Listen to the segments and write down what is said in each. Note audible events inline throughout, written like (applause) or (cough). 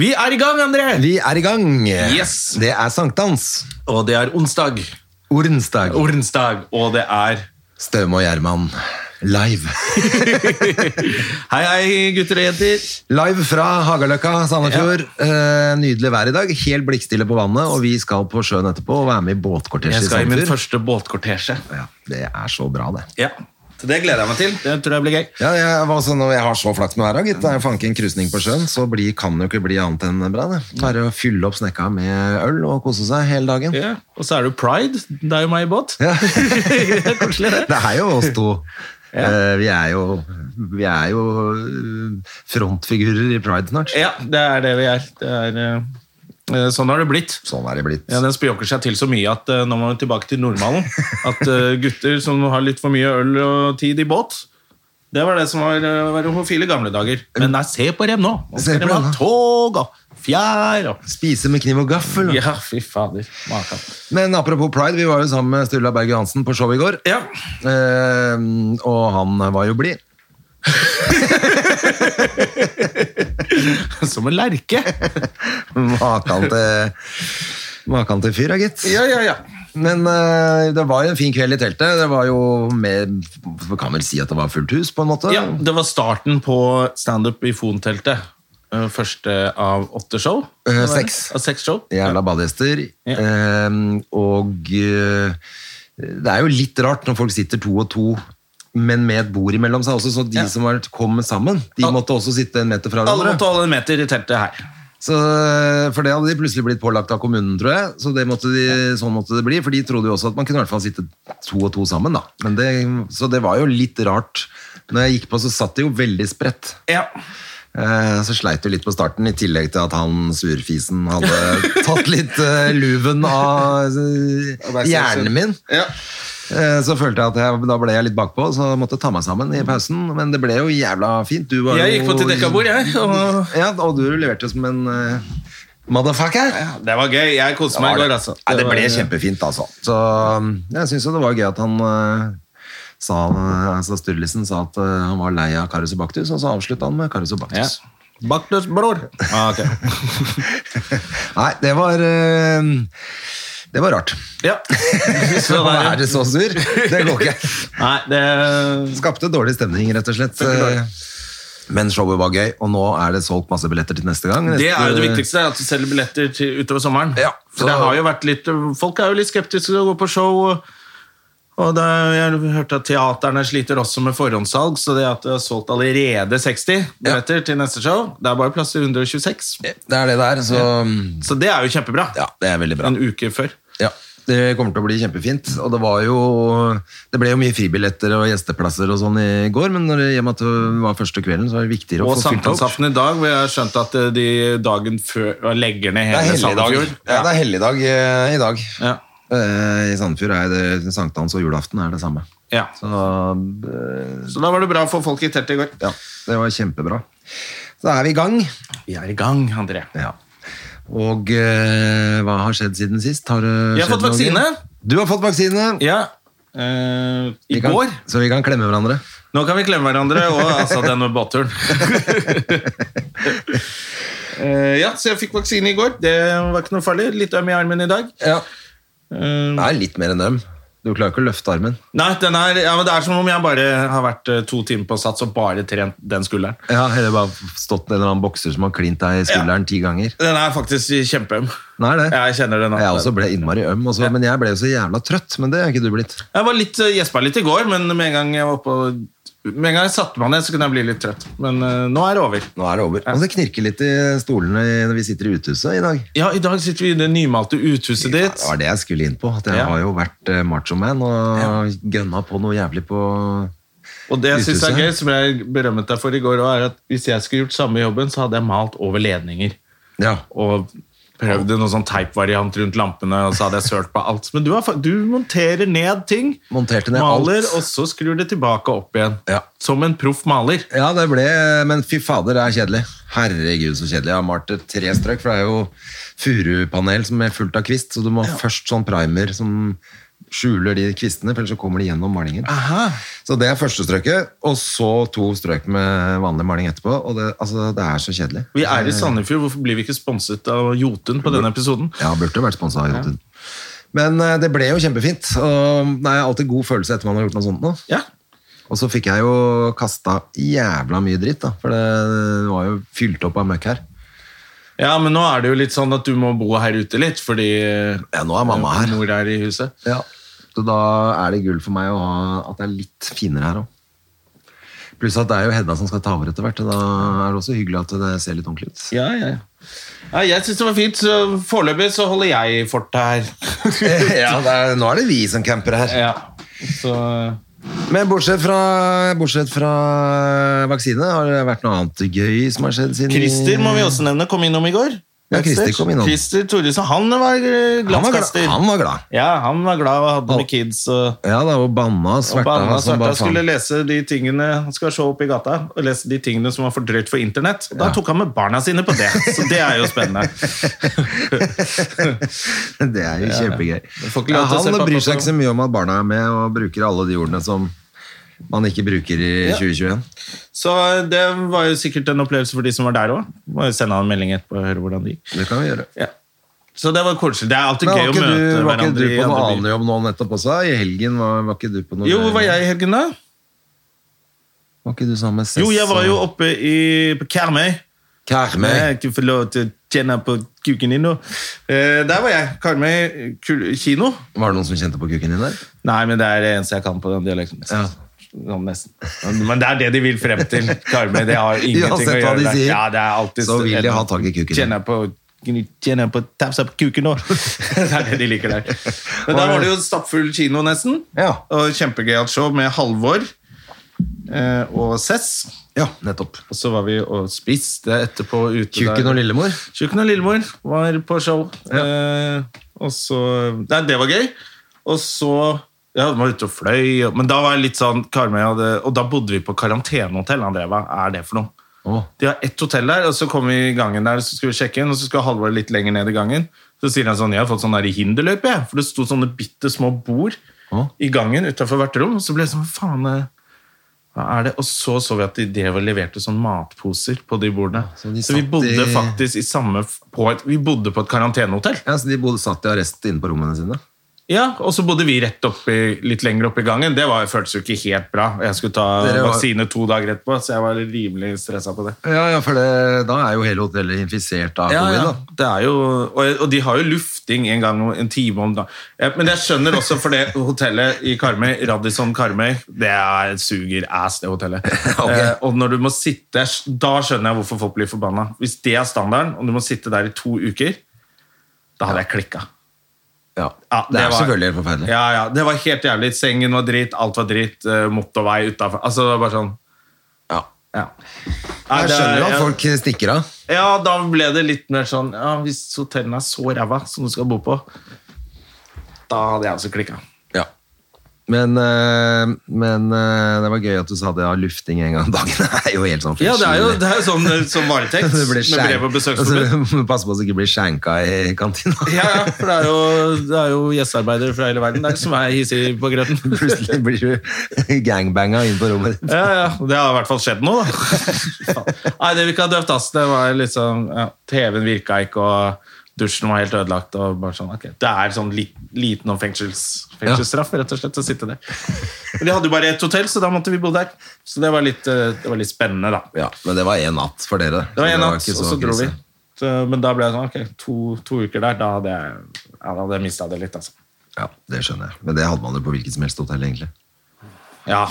Vi er i gang, André! Vi er i gang. Yes. Det er sankthans. Og det er onsdag. Ornsdag. Ordensdag. Og det er Støme og Gjerman. Live. Hei, hei, gutter og jenter. Live fra Hagaløkka, Sandefjord. Eh, nydelig vær i dag. Helt blikkstille på vannet, og vi skal på sjøen etterpå og være med i båtkortesje i Jeg skal i min Sandefjord. første båtkortesje. Ja, det er så bra, det. Ja. Så det gleder jeg meg til. Det tror jeg blir gøy. Ja, jeg, var sånn, når jeg har så flaks med været, gitt. Det er jo fanken krusning på sjøen, så bli, kan det jo ikke bli annet enn bra. det. Bare å fylle opp snekka med øl og kose seg hele dagen. Ja. Og så er det jo pride. Det er jo meg i båt. Ja. (laughs) det er koselig, det. Det er jo oss (laughs) to. Ja. Eh, vi er jo, vi er jo eh, frontfigurer i Pride snart. Ja, det er det vi er. Det er eh, eh, sånn har det blitt. Sånn er det blitt. Ja, Den spjåker seg til så mye at eh, nå må vi tilbake til normalen. At eh, gutter som har litt for mye øl og tid i båt Det var det som var, eh, var homofile i gamle dager. Men nei, se på dem nå! Nå Se på skal de dem ha nå. tog og fjær og Spise med kniv og gaffel. Ja, fy fader. Makan. Men apropos Pride, vi var jo sammen med Sturla Berg Johansen på show i går. Ja. (laughs) Eh, og han var jo blid. Som en lerke. Makan til, makan til fyr, (laughs) ja, gitt. Ja, ja, ja. Men eh, det var jo en fin kveld i teltet. Det var jo med Vi kan vel si at det var fullt hus, på en måte. ja det var starten på standup i Fon-teltet. Eh, Første av åtte show. Eh, seks. Av seks show. Jævla badegjester. Ja. Eh, og eh, det er jo litt rart når folk sitter to og to, men med et bord imellom seg også, så de Ja. som var, kom sammen, de Al- måtte også sitte en meter fra Alle måtte hverandre. holde en meter i teltet her. Så, eh, for det hadde de plutselig blitt pålagt av kommunen, tror jeg. Så det måtte de, sånn måtte det bli, for de trodde jo også at man kunne i hvert fall sitte to og to sammen. Da. Men det, så det var jo litt rart. Når jeg gikk på, så satt det jo veldig spredt. Ja. Eh, Så sleit du litt på starten, i tillegg til at han surfisen hadde tatt litt eh, luven av eh, hjernen min. Eh, Så følte jeg at jeg, da ble jeg litt bakpå, så måtte jeg ta meg sammen i pausen. Men det ble jo jævla fint. Du var Jeg gikk jo- på til dekka bord, jeg. Og Ja, og du leverte som en eh, motherfucker. Det var gøy. Jeg koste meg i går, altså. Ja, det ble var- kjempefint, altså. Så um, jeg syns jo det var gøy at han eh, sa eh, altså Sturlisen sa at eh, han var lei av Karius og Baktus, og så avslutta han med Karius og Ja. Baktus. Baktus, bror. Ah, ok. Nei, det var eh, Det var rart. (laughs) Ja. (laughs) Så Så der, er det så sur? Det går ikke. Nei, det Skapte dårlig stemning, rett og slett. Men showet var gøy, og nå er det solgt masse billetter til neste gang. det er jo det Neste- viktigste, at du selger billetter til, utover sommeren. Ja. For det har jo vært litt, Folk er jo litt skeptiske til å gå på show. og- Og det, jeg hørte at teaterne sliter også med forhåndssalg, så det at det er solgt allerede 60 billetter til neste show Det er bare plass til 126. Det er det der, så Så det er jo kjempebra. Ja, det er veldig bra. En uke før. Ja, det kommer til å bli kjempefint. Og det var jo Det ble jo mye fribilletter og gjesteplasser og sånn i går, men når det, i og med at det var første kvelden, så var det viktigere å Og få fylt opp. Sankthansaften i dag, hvor jeg har skjønt at eh, de dagen før legger ned Det er hele helligdag Sandefjord. ja, det er helligdag eh, i dag. Ja. Eh, I Sandefjord er det sankthans og julaften er det samme. Ja. Så eh, Så da var det bra å få folk i teltet i går. ja, det var kjempebra. Så da er vi i gang. Vi er i gang, André. Ja. Og eh, hva har skjedd siden sist? Har eh, Jeg har fått vaksine. Du har fått vaksine! Ja. eh, I Vi kan- går. Så vi kan klemme hverandre. Nå kan vi klemme hverandre, og altså den med båtturen. (laughs) Eh, ja, så jeg fikk vaksine i går. Det var ikke noe farlig. Litt øm i armen i dag. Ja. Eh, Det er litt mer enn dem. Du klarer ikke å løfte armen. nei, den er, ja, men Det er som om jeg bare har vært eh, to timer på sats og bare trent den skulderen. Ja, Eller bare stått en eller annen bokser som har klint deg i skulderen ti ganger. Den er faktisk kjempeøm. Nei, det. Jeg kjenner den. altså. nå. Jeg også ble innmari øm, også, men jeg ble jo så jævla trøtt. Men det er ikke du blitt. Jeg var litt, eh, gjespa litt i går, men med en gang jeg var oppe og- Med en gang jeg satte meg ned, så kunne jeg bli litt trøtt. Men eh, nå er det over. Nå er det over. Og det knirker litt i stolene i- når vi sitter i uthuset i dag. Ja, I dag sitter vi i det nymalte uthuset Ja, ditt. det var det jeg skulle inn på. At jeg Ja. har jo vært eh, macho man og gønna på noe jævlig på Og det jeg synes er Uthuset. gøy, som jeg berømmet deg for i går, også, er at hvis jeg skulle gjort samme jobben, så hadde jeg malt over ledninger. Ja. Og prøvde noen sånn teipvariant rundt lampene, og så hadde jeg sølt på alt. Men du, har, fa- du monterer ned ting, Monterte ned maler, alt. og så skrur det tilbake opp igjen. Ja. Som en proff maler. Ja, det ble Men fy fader, det er kjedelig. Herregud, så kjedelig. Jeg har malt et tre strøk, for det er jo furupanel som er fullt av kvist, så du må ha først sånn primer som skjuler de kvistene, for ellers så kommer de gjennom malingen. Så det er første strøket, og så to strøk med vanlig maling etterpå. Og det, altså, det er så kjedelig. Vi er i Sandefjord, hvorfor blir vi ikke sponset av Jotun på denne episoden? Ja, burde jo vært sponsa av Jotun. Men eh, det ble jo kjempefint. Og det er alltid god følelse etter man har gjort noe sånt nå. Ja, Og så fikk jeg jo kasta jævla mye dritt, da. For det var jo fylt opp av møkk her. ja men nå er det jo litt sånn at du må bo her ute litt, fordi eh, Ja, nå er mamma her. mor er i huset. Ja. Så da er det gull for meg å ha at det er litt finere her òg. Pluss at det er jo Hedda som skal ta over etter hvert. og Da er det også hyggelig at det ser litt ordentlig (laughs) ut. Ja, ja, ja. Ja, jeg synes det var fint, så foreløpig så holder jeg fortet (laughs) her. ja, det er, nå er det vi som camper her. ja, så... eh, Men bortsett fra, bortsett fra vaksine, har det vært noe annet gøy som har skjedd siden Christer må vi også nevne, kom innom i går. Ja, Christer kom innom. Christer Thoresen, han var Han eh, var, glad, glasskaster. han var glad. Ja, han var glad og hadde Og- med kids og... Ja da, og banna og Og sverta. Banna altså, Svarta bare faen. skulle lese de tingene Han skal se opp i gata og lese de tingene som var for drøyt for internett. Og da Ja. tok han med barna sine på det, så det er jo spennende. (laughs) det er jo kjempegøy. får ikke Ja, lov til å se han pappa bryr seg på- ikke så mye om at barna er med og bruker alle de ordene som man ikke bruker i 2021. Så det var jo sikkert en opplevelse for de som var der òg. Må jo sende han en melding etterpå og høre hvordan det gikk. Det kan vi gjøre. Så det var koselig. Det er alltid Men gøy var å ikke møte du, var ikke du hverandre i på noe andre annen byer. jobb nå nettopp også? I helgen var, var ikke du på noe Jo, greier? hvor var jeg i helgen, da? Var ikke du sammen med Sess? Jo, jeg var jo og- oppe i, på Karmøy. Eh, Karmøy. Jeg ikke få lov til å tjene på kuken din nå. Eh, der var jeg. Karmøy kul- kino. Var det noen som kjente på kuken din der? Nei, men det er det eneste jeg kan på den dialekten. Ja. Sånn nesten. Men det er det de vil frem til. Karmøy, det har ingenting (laughs) Uansett å hva gjøre. de der. sier, ja, det er alltid så vil de ha tak i kuken din. Kjenner jeg på Kjenner jeg på tapsa på kuken (laughs) nå. det er det de liker der. Men der var det jo stappfull kino, nesten. Ja. Og kjempegøyalt show med Halvor eh, og Sess. Ja, nettopp. Og så var vi og spiste etterpå ute Kuken og Lillemor. Tjukken og Lillemor var på show. Eh, og så Nei, det var gøy. Og så ja, de var ute og fløy, og- men da var jeg litt sånn Karmøy hadde, Og da bodde vi på karantenehotell. André, hva er det for noe? Å. De har ett hotell der, og så kom vi i gangen der, så skulle vi sjekke inn, og så skulle Halvor litt lenger ned i gangen. Så sier han sånn, jeg har fått sånn der hinderløype, jeg. For det sto sånne bitte små bord Å. i gangen utenfor hvert rom. Og så ble jeg sånn, «Hva faen, eh, hva er det? Og så så vi at de drev og leverte sånn matposer på de bordene. Så Så, de vi satt bodde i- faktisk i samme, f- på et, vi bodde på et karantenehotell. Ja, så de bodde, satt i arrest inne på rommene sine? Ja, og så bodde vi rett opp i, litt lenger opp i gangen. Det var, føltes jo ikke helt bra. Jeg skulle ta Dere var- vaksine to dager etterpå, så jeg var rimelig stresset på det. Ja, ja, for det, da er jo hele hotellet infisert av Ja, covid, ja. da. Det er jo, og, og de har jo lufting en gang om- en time om dagen. Ja, Men jeg skjønner også for det hotellet i Karmøy, Radisson Karmøy, det er suger ass, det hotellet. (laughs) Ok. Eh, og når du må sitte, da skjønner jeg hvorfor folk blir forbanna. Hvis det er standarden, og du må sitte der i to uker, da hadde jeg klikka. Ja, Ja, det, er var- selvfølgelig helt forferdelig. Ja, ja, det var helt jævlig. Sengen var dritt, alt var dritt, eh, motorvei utafor Altså, det var bare sånn Ja. ja. Nei, Jeg det er- skjønner at ja. folk stikker av. Ja, da ble det litt mer sånn ja, Hvis hotellene er så ræva som du skal bo på, da hadde jeg også klikka. Men, eh, men eh, det var gøy at du sa det av lufting en gang om dagen. (laughs) Det er jo helt sånn Ja, det er jo, forskjellig. det er jo sånn eh, som (laughs) (laughs) varetekt Det blir med skjenk- brev og besøksforbud. Altså, du må Passe på så du ikke blir skjenka i kantina. Ja, ja, for det er jo, det er jo gjestearbeidere fra hele verden der som er hissige på grøten. (laughs) Plutselig blir du (laughs) gangbanga inn på rommet ditt. Ja, ja, Det har i hvert fall skjedd nå, da. Faen. Nei, det vi ikke ha døvt, ass. Det var liksom ja, TV-en virka ikke, og dusjen var helt ødelagt. Og bare sånn, ok. Det er sånn li liten og fengsels fengselsstraff, rett og slett, å sitte der. Men de hadde jo bare ett hotell, så da måtte vi bo der. Så det var litt, eh, det var litt spennende, da. Ja, men det var én natt for dere. Det var en natt, ikke og så dro vi. krise. Så, men da ble jeg sånn, ok, to, to uker der, da hadde jeg, ja, da hadde jeg mista det litt, altså. Ja, Det skjønner jeg. Men det hadde man jo på hvilket som helst hotell, egentlig. Ja.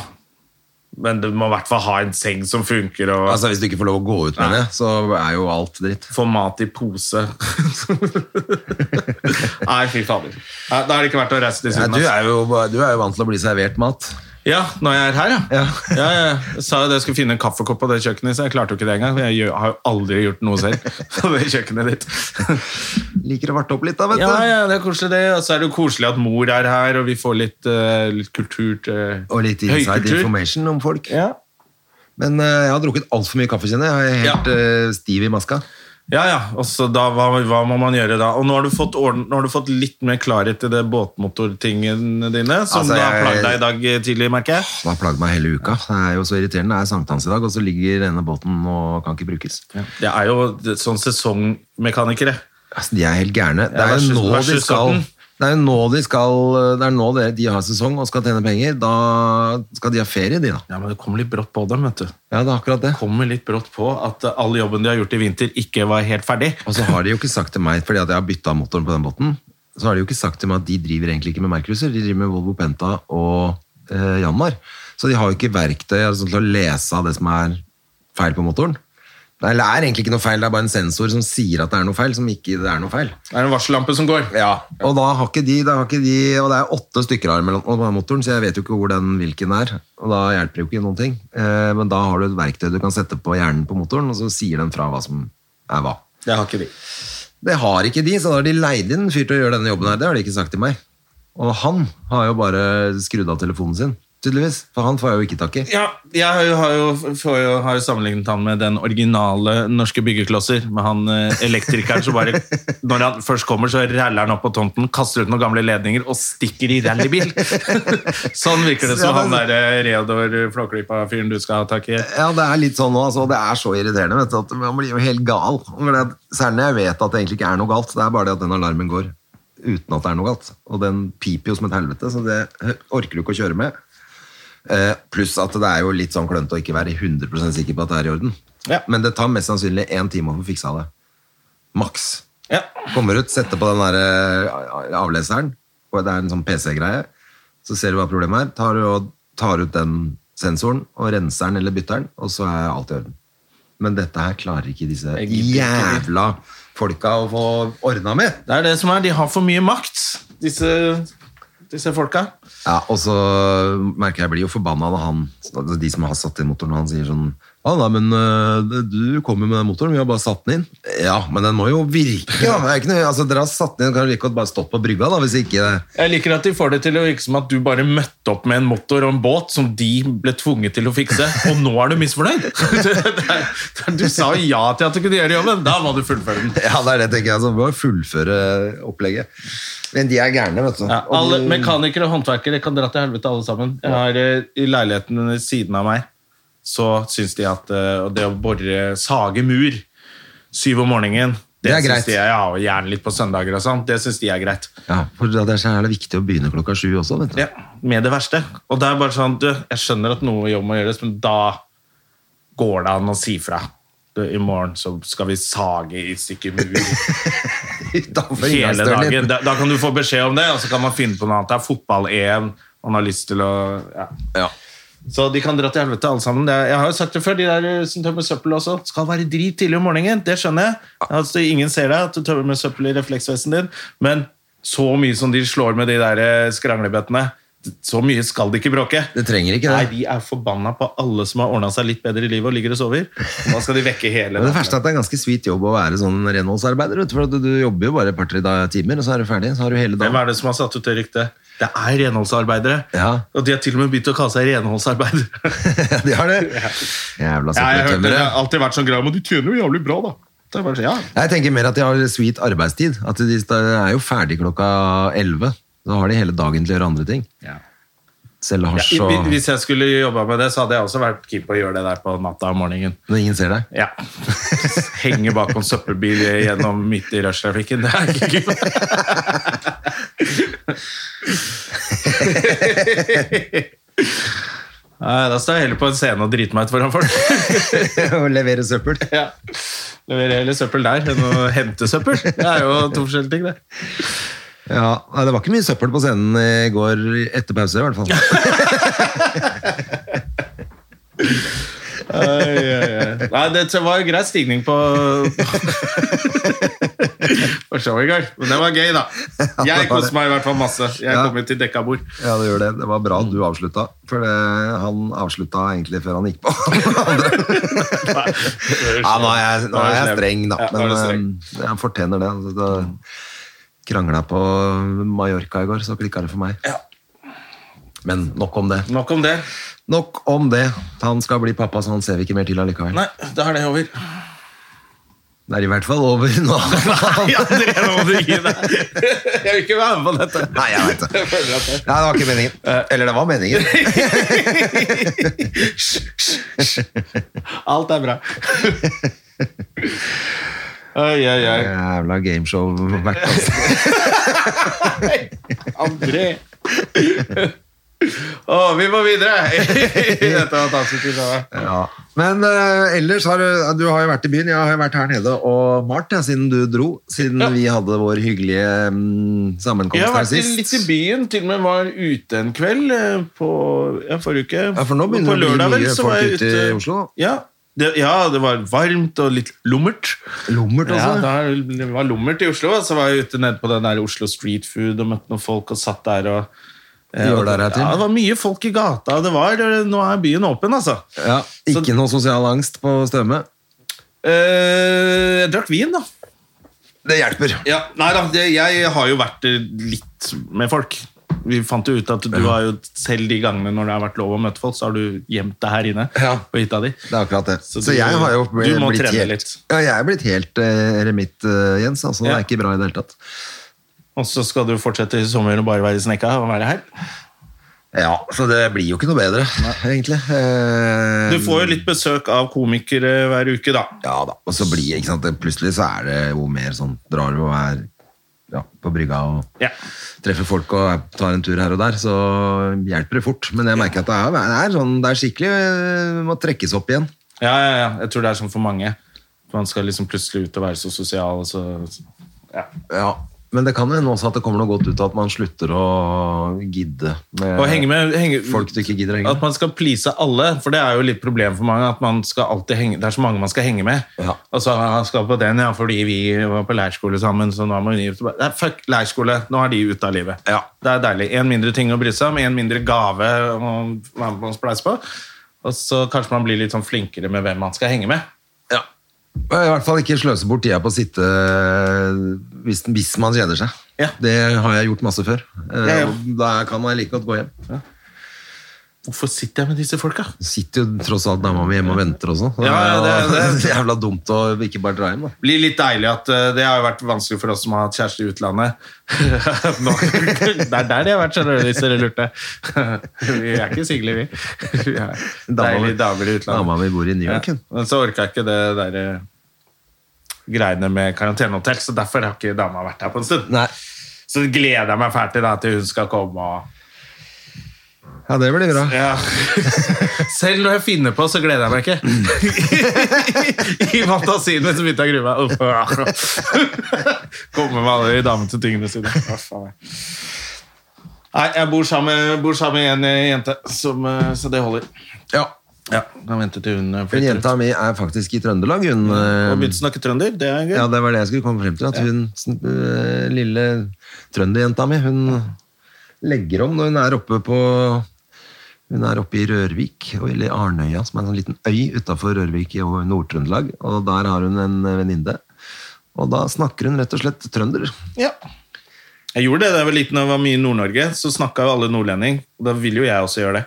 Men du må i hvert fall ha en seng som funker, og Altså, Hvis du ikke får lov å gå ut med det, så er jo alt dritt. Få mat i (laughs) pose. Nei, fy fader. Nei, Da er det ikke verdt å reise til Ja, Syden. du, ass. altså- er jo, du er jo vant til å bli servert mat. Ja, når jeg er her, ja. Ja. ja, ja. Jeg sa jo det, jeg skulle finne en kaffekopp på det kjøkkenet, så jeg klarte jo ikke det engang. for Jeg gjør- har jo aldri gjort noe selv (laughs) på det kjøkkenet ditt. (laughs) Liker å varte opp litt, da, vet Ja, du. ja, det er koselig det. Og så er det jo koselig at mor er her, og vi får litt, eh, litt kultur til Og litt inside høykultur. information om folk. Ja. Men eh, jeg har drukket altfor mye kaffe, kjenner jeg. Jeg er helt Ja. eh, stiv i maska. Ja, ja. Og så da, hva, hva må man gjøre da? Og nå har du fått, orden, nå har du fått litt mer klarhet i det båtmotortingene dine, som Altså, da har jeg- plagd deg i dag tidlig, merker jeg. Det har plagd meg hele uka. Det er jo så irriterende. Det er sankthans i dag, og så ligger denne båten og kan ikke brukes. Det er jo det- sånn sesongmekanikere. Altså, de er helt gærne. Det vær er så- jo nå vær så de skal skatten. det er jo nå de skal Det er nå de, de har sesong og skal tjene penger. Da skal de ha ferie, de, da. Ja, men det kommer litt brått på dem, vet du. Ja, det er akkurat det. Kommer litt brått på at eh, all jobben de har gjort i vinter, ikke var helt ferdig. Og så har de jo ikke sagt til meg, fordi at jeg har bytta motoren på den båten, så har de jo ikke sagt til meg at de driver egentlig ikke med merkeluser, de driver med Volvo Penta og eh, Janmar. Så de har jo ikke verktøy altså, til å lese av det som er feil på motoren. Nei, Det er egentlig ikke noe feil, det er bare en sensor som sier at det er noe feil, som ikke det er noe feil. Det er en varsellampe som går. Og da har ikke de, da har ikke de og det er åtte stykker her mellom og motoren, så jeg vet jo ikke hvor den hvilken er. Og da hjelper det jo ikke noen ting. Eh, men da har du et verktøy du kan sette på hjernen på motoren, og så sier den fra hva som er hva. Det har ikke de. Det har ikke de, så da har de leid inn en fyr til å gjøre denne jobben her. Det har de ikke sagt til meg. Og han har jo bare skrudd av telefonen sin, tydeligvis. For han får jeg jo ikke tak i. Ja, jeg har jo, har jo, får jo, har jo sammenlignet han med den originale norske byggeklosser, med han eh, elektrikeren som (laughs) bare Når han først kommer, så raller han opp på tomten, kaster ut noen gamle ledninger og stikker i (laughs) rallybil. sånn virker det som han der eh, Reodor Flåklypa-fyren du skal ha tak i. Ja, det er litt sånn nå, altså. Det er så irriterende, vet du, at man blir jo helt gal. For det- Særlig når jeg vet at det egentlig ikke er noe galt. Det er bare det at den alarmen går uten at det er noe galt. Og den piper jo som et helvete, så det orker du ikke å kjøre med. Eh, Pluss at det er jo litt sånn klønete å ikke være 100 sikker på at det er i orden. Ja. Men det tar mest sannsynlig én time å få fiksa det. Maks. Ja. Kommer ut, setter på den der eh, avleseren, og det er en sånn PC-greie. Så ser du hva problemet er, tar, og, tar ut den sensoren og renser den eller bytter den, og så er alt i orden. Men dette her klarer ikke disse Jeg gidder ikke. jævla folka å få ordna med. Det er det som er. De har for mye makt, disse, disse folka. Ja, og så merker jeg jeg blir jo forbanna når han, altså de som har satt inn motoren, og han sier sånn ja da, men øh, du kommer med den motoren, vi har bare satt den inn. Ja, men den må jo virke, da. Det er ikke noe, altså, dere har satt den inn, kan dere ikke bare stått på brygga, da, hvis ikke det Jeg liker at de får det til å virke som at du bare møtte opp med en motor og en båt som de ble tvunget til å fikse, og nå er du misfornøyd! (laughs) Det er- Du sa ja til at du kunne gjøre jobben, da må du fullføre den. (laughs) Ja, det er det, tenker jeg. Så vi må fullføre opplegget. Men de er gærne, vet du. Ja, Og alle de- mekanikere og håndverkere kan dra til helvete, alle sammen. Jeg har eh, I leiligheten ved siden av meg så syns de at eh, det å bore sage mur syv om morgenen Det er syns greit. De, ja, og gjerne litt på søndager og sånn. Det syns de er greit. Ja, for det er så jævla viktig å begynne klokka sju også, vet du. (laughs) Ja, med det verste. Og det er bare sånn, du, jeg skjønner at noe jobb må gjøres, men da går det an å si fra. Du, I morgen så skal vi sage i stykker mur Utenfor hele inngangsdøren din. dagen. Da, da kan du få beskjed om det, og så kan man finne på noe annet. Det er fotball-EM, man har lyst til å ja. Så de kan dra til helvete, alle sammen. Det er- Jeg har jo sagt det før, de der eh, som tømmer søppel også. Skal være drit tidlig om morgenen, det skjønner jeg. Altså, ingen ser deg, at du tømmer med søppel i refleksvesten din. Men så mye som de slår med de der eh, skranglebøttene, så mye skal de ikke bråke. Det trenger ikke Nei, det. de er forbanna på alle som har ordna seg litt bedre i livet og ligger og sover. Og da skal de vekke hele Men (laughs) det verste er at det er en ganske sweet jobb å være sånn renholdsarbeider, vet du. For at du- du jobber jo bare et par-tre da- timer, og så er du ferdig. Så har du hele Hvem dagen. (laughs) er det som har satt ut det ryktet? Det er renholdsarbeidere. Ja. Og de har til og med begynt å kalle seg renholdsarbeidere. (laughs) de har det. Jævla (laughs) Ja, jeg hørte det. Det søppeltømmere. har alltid vært sånn greie, men du tjener jo jævlig bra, da. Det er bare, sånn, ja. Jeg tenker mer at de har sweet arbeidstid. At de er jo ferdig klokka elleve. Så har de hele dagen til å gjøre andre ting. Selge hasj Ja, i- og Hvis jeg skulle jobba med det, så hadde jeg også vært keen på å gjøre det der på natta og morgenen. Når ingen ser deg. (laughs) Ja. (laughs) Henge bakom søppelbil gjennom midt i rushtrafikken, det er ikke gøy. (laughs) Nei, Da står jeg heller på en scene og driter meg ut foran folk. (laughs) Og levere søppel. Ja. Leverer heller søppel der enn å hente søppel. Det er jo to forskjellige ting, det. Ja, nei, Det var ikke mye søppel på scenen i går etter pause, i (laughs) hvert fall. Nei, det var jo grei stigning på for show i gang. Men det var gøy, da. det Jeg var koste det. meg i hvert fall masse. Jeg Ja. kom jo til dekka bord. Ja, det gjør det. Det var bra at du avslutta. For det, han avslutta egentlig før han gikk (laughs) på. ja, nå er jeg, nå er jeg streng, da. Ja, nå er Men du streng. eh, jeg fortjener det. Altså, Da krangla på Mallorca i går, så klikka det for meg. Men nok om det. Nok om det. Nok om det. Han skal bli pappa, så han ser vi ikke mer til allikevel. Nei, da er det over. Det er i hvert fall over nå. (laughs) Ja, André, nå må du gi deg. (laughs) Jeg vil ikke være med på dette. Nei, jeg vet det. Jeg føler at det- Nei, det var ikke meningen. Eller det var (laughs) meningen. Alt er bra. Oi, oi, oi. Jævla gameshow-vert. Altså. André. Å, vi må videre! (laughs) Dette var Tatsuki Sara. Ja. Men eh, ellers har du, du har jo vært i byen. Jeg har jo vært her nede og malt ja, siden du dro. Siden vi hadde vår hyggelige mm, sammenkomst Jeg har her vært i- sist. litt i byen, til og med var ute en kveld eh, på ja, forrige uke. Ja, for nå begynner det På å bli lørdag, vel, mye så var folk jeg ute i Oslo. Ja det, ja, det var varmt og litt lummert. Lommert Ja, også. det var lummert i Oslo, og så var jeg ute nede på den der Oslo Street Food og møtte noen folk og satt der og eh, Gjør og- dere her til? Ja, det var mye folk i gata, og det var Nå er byen åpen, altså. Ja, ikke noe sosial angst på Støme. Eh, jeg drakk vin, da. Det hjelper. Ja, nei da, det, jeg har jo vært eh, litt med folk. Vi fant jo ut at du har jo selv de gangene når det har vært lov å møte folk, så har du gjemt deg her inne Ja. på hytta di. Det er akkurat det. Så Så, du- jeg har jo du blitt må trene helt, litt. Ja, jeg er blitt helt eh, eremitt, eh, Jens. Altså, Det Ja. er ikke bra i det hele tatt. Og så skal du fortsette i sommer og bare være snekka og være her. Ja, så det blir jo ikke noe bedre, egentlig. Eh, Du får jo litt besøk av komikere hver uke, da. Ja da, og så blir ikke sant, det- plutselig så er det jo mer sånn, drar du og er ja, på brygga og Ja. treffer folk og er- tar en tur her og der, så hjelper det fort. Men jeg merker at det er, det er, sånn, det er skikkelig, øh, må trekkes opp igjen. Ja, ja, ja. Jeg tror det er sånn for mange. Man skal liksom plutselig ut og være så sosial. Og så ja. Ja. Men det kan jo hende også at det kommer noe godt ut av at man slutter å gidde med, Og henge med henge, folk du ikke gidder å henge At med. man skal please alle, for det er jo litt problem for mange. at man skal alltid henge, Det er så mange man skal henge med. Ja. Og så han skal på den, ja, fordi vi var på leirskole sammen. så nå må vi ut. Nei, Fuck leirskole, nå er de ute av livet. Ja. Det er deilig. Én mindre ting å bry seg om, én mindre gave å være med på og spleise på. Og så kanskje man blir litt sånn flinkere med hvem man skal henge med. I hvert fall ikke sløse bort tida på å sitte hvis, hvis man kjeder seg. Ja. Det har jeg gjort masse før. Eh, Ja, ja. og Da kan man like godt gå hjem. Hvorfor sitter jeg med disse folka? sitter jo tross alt dama mi hjemme og venter også. (laughs) Det er, Ja, ja, det- jo det- jævla dumt å ikke bare dra hjem, da. blir litt deilig at eh, det har jo vært vanskelig for oss som har hatt kjæreste i utlandet. (laughs) Nå, det er der de har vært, skjønner du, hvis dere lurte. (laughs) Vi er ikke single, vi. (laughs) vi er mi- deilige Dama damer i utlandet. mi bor i New Ja. York, hun. Men så orka jeg ikke det der eh, greiene med karantenehotell, så derfor har ikke dama vært her på en stund. Nei. Så gleder jeg meg fælt til da, til hun skal komme og Ja, det blir bra. ja. (laughs) Selv når jeg finner på, så gleder jeg meg ikke. (laughs) I fantasien min så begynte jeg å grue meg. Uff, ah. (laughs) Kommer med alle de damene til tingene sine. Uff, faen. Nei, jeg bor sammen, bor sammen med en eh, jente, som, eh, så det holder. Ja. Ja, Kan vente til hun eh, Hun flytter ut. jenta mi er faktisk i Trøndelag, hun. eh, Og begynte å snakke trønder. Det er gøy. Ja, det var det jeg skulle komme frem til. At hun sn- eh, lille trønderjenta mi, hun legger om når hun er oppe på hun er oppe i Rørvik, og- eller Arnøya, som er en sånn liten øy utafor Rørvik i Nord-Trøndelag. Og der har hun en eh, venninne. Og da snakker hun rett og slett trønder. Ja. Jeg gjorde det da jeg var liten og var mye i Nord-Norge. Så snakka jo alle nordlending. Og da ville jo jeg også gjøre det.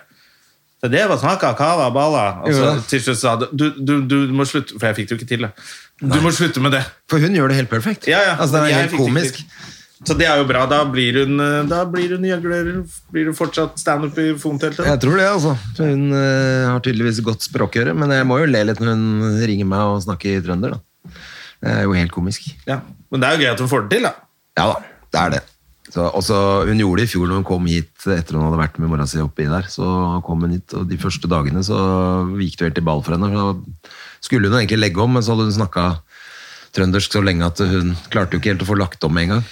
Så det var snakka, kava, bala. Og så Gjorde det? til slutt sa du, du, du, du må slutte For jeg fikk det jo ikke til, da. Du må slutte med det. For hun gjør det helt perfekt. Ja, ja. Altså, det Jeg er helt fikk det komisk. ikke til. Så det er jo bra. Da blir hun, eh, da blir hun gjøgler. Blir hun fortsatt standup i Fonteltet? Jeg tror det, altså. Hun eh, har tydeligvis godt språkøre, men jeg må jo le litt når hun ringer meg og snakker i trønder, da. Det er jo helt komisk. Ja. Men det er jo gøy at hun får det til, da. Ja da, det er det. Så, også, hun gjorde det i fjor når hun kom hit etter hun hadde vært med mora si oppi der. Så kom hun hit, og de første dagene så gikk det helt i ball for henne. For da skulle hun egentlig legge om, men så hadde hun snakka trøndersk så lenge at hun klarte jo ikke helt å få lagt om med en gang.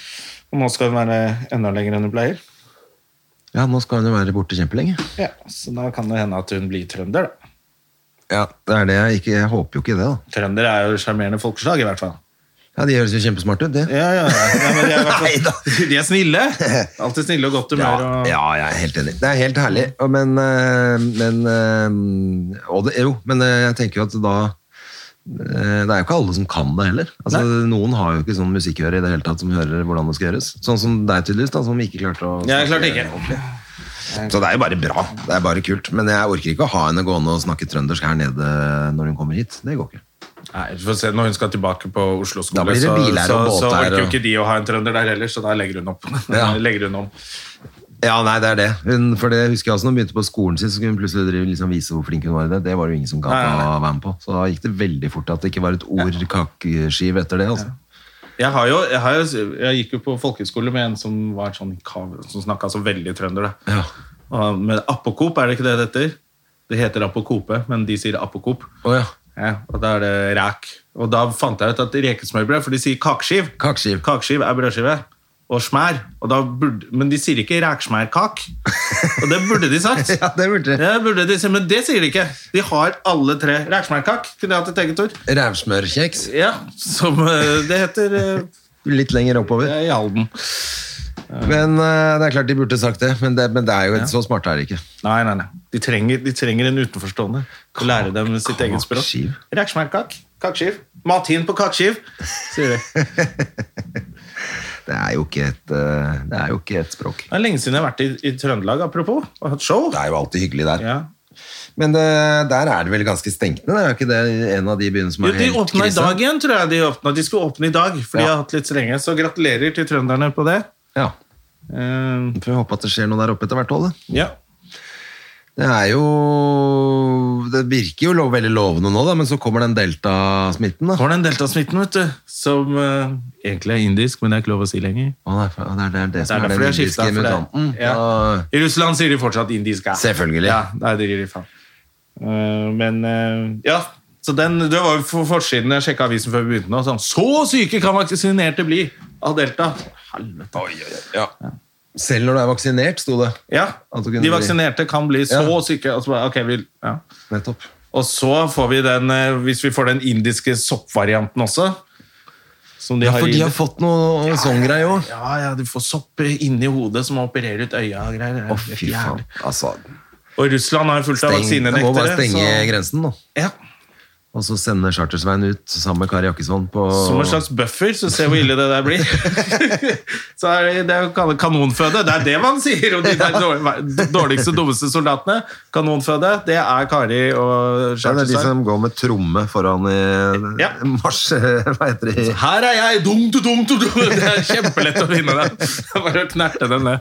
Og nå skal hun være enda lenger enn hun pleier. Ja, nå skal hun jo være borte kjempelenge. Ja, Så da kan det hende at hun blir trønder, da. Ja, det er det jeg ikke Jeg håper jo ikke det, da. Trønder er jo sjarmerende folkeslag, i hvert fall. Ja, De høres jo kjempesmarte ut, det. Ja, ja, ja. ja men de, er i (laughs) hvert fall- Neida. (laughs) de (laughs) er snille. Alltid snille og godt humør. Ja, og- ja, jeg er helt enig. Det er helt herlig. Og Men, øh, men øh, og det, Jo, men øh, jeg tenker jo at da øh, det er jo ikke alle som kan det heller. Altså, noen har jo ikke sånn musikkøre i det hele tatt som hører hvordan det skal gjøres. Sånn som deg, tydeligvis, da, som ikke klarte å Jeg klarte ikke. ordentlig. Så det er jo bare bra. Det er bare kult. Men jeg orker ikke å ha henne gående og snakke trøndersk her nede når hun kommer hit. Det går ikke. Nei, vi får se Når hun skal tilbake på Oslo skole, Da blir det så, biler så, og så båter orker jo og- ikke de å ha en trønder der heller, så da legger hun opp. Ja. (laughs) legger hun om. Ja, nei, det er det. Hun, for det husker jeg også, når hun begynte på skolen sin, så skulle hun plutselig drive, liksom, vise hvor flink hun var i det. Det var det jo ingen som gadd Nei, nei, å være med på. Så da gikk det veldig fort at det ikke var et ord kakeskiv etter det. Altså. Jeg, har jo, jeg, har jo, jeg gikk jo på folkehøyskole med en som, var sånn, kav- som snakka så veldig trønder. Da. Ja. Og Med apokop, er det ikke det det heter? Det heter apokope, men de sier apokop. Å ja. Ja, og da er det ræk. Og da fant jeg ut at rekesmørbrød, for de sier kakeskiv. Kakeskiv. Kakeskiv er brødskive. Og smær. Og da burde, men de sier ikke ræksmærkak. Og det burde de (laughs) sagt. (laughs) Ja, det burde de. Ja, burde de si, men det sier de ikke. De har alle tre. Ræksmærkak kunne jeg hatt et eget ord. Rævsmørkjeks. Ja, som eh, det heter eh, Litt lenger oppover. i Halden. Men eh, det er klart de burde sagt det. Men det, men det er jo så smart er det ikke. Nei, nei, nei. De trenger, de trenger en utenforstående til å lære dem sitt eget språk. kakeskiv. Ræksmærkak. Kakeskiv. Mathin på kakeskiv, sier de. Det er jo ikke et, eh, det er jo ikke et språk. Det er lenge siden jeg har vært i, i Trøndelag, apropos, og hatt show. Det er jo alltid hyggelig der. Ja. Men det, der er det vel ganske stengt ned? Er jo ikke det en av de byene som Jo, er de helt åpna i dag igjen, tror jeg. De åpna. De skulle åpne i dag, for de Ja. har hatt litt så lenge. Så gratulerer til trønderne på det. Ja. Eh, Får håpe at det skjer noe der oppe etter hvert, Olle. ja. Det er jo Det virker jo lo veldig lovende nå, da, men så kommer den delta-smitten. da. Så var det en deltasmitten, vet du, som eh, egentlig er indisk, men det er ikke lov å si lenger. Å, det, er, for- det, er, det er det Det som er er, derfor de den har skifta. indiske mutanten. Ja. Ja. I Russland sier de fortsatt indisk. ja. Selvfølgelig. Ja, nei, det gir de faen. Eh, men eh, ja, så den, det var jo for forsiden jeg sjekka avisen før vi begynte nå. Sånn, så syke kan vaksinerte bli av Delta! Helvete. Selv når du er vaksinert, sto det. Ja, At du kunne De bli- vaksinerte kan bli så Ja. syke. Og så, bare, ok, vi, ja. Nettopp. og så får vi den, eh, hvis vi får den indiske soppvarianten også som de Ja, har for i- de har fått noe sånn greie òg. Ja, ja, du får sopp inni hodet som opererer ut øya og greier. Det er Å, helt fy faen. jævlig. Altså, Og Russland har jo fullt av steng, du må bare vaksinenektere. stenge så- grensen, da. Ja. Og så sende Chartersveien ut sammen med Kari Jakkesson på Som en slags buffer, så se hvor ille det der blir. (laughs) så er det, det er jo kalt kanonføde. Det er det man sier om de der dårlig- dårligste, dummeste soldatene. Kanonføde, det er Kari Ja, det og er de Charterstad. som går med tromme foran i Ja. marsj (laughs) Hva heter det? Altså, Her er jeg! Dum, du, dum, du, (laughs) dum. Det er kjempelett å vinne den. Det er Bare å knerte den (laughs) ned.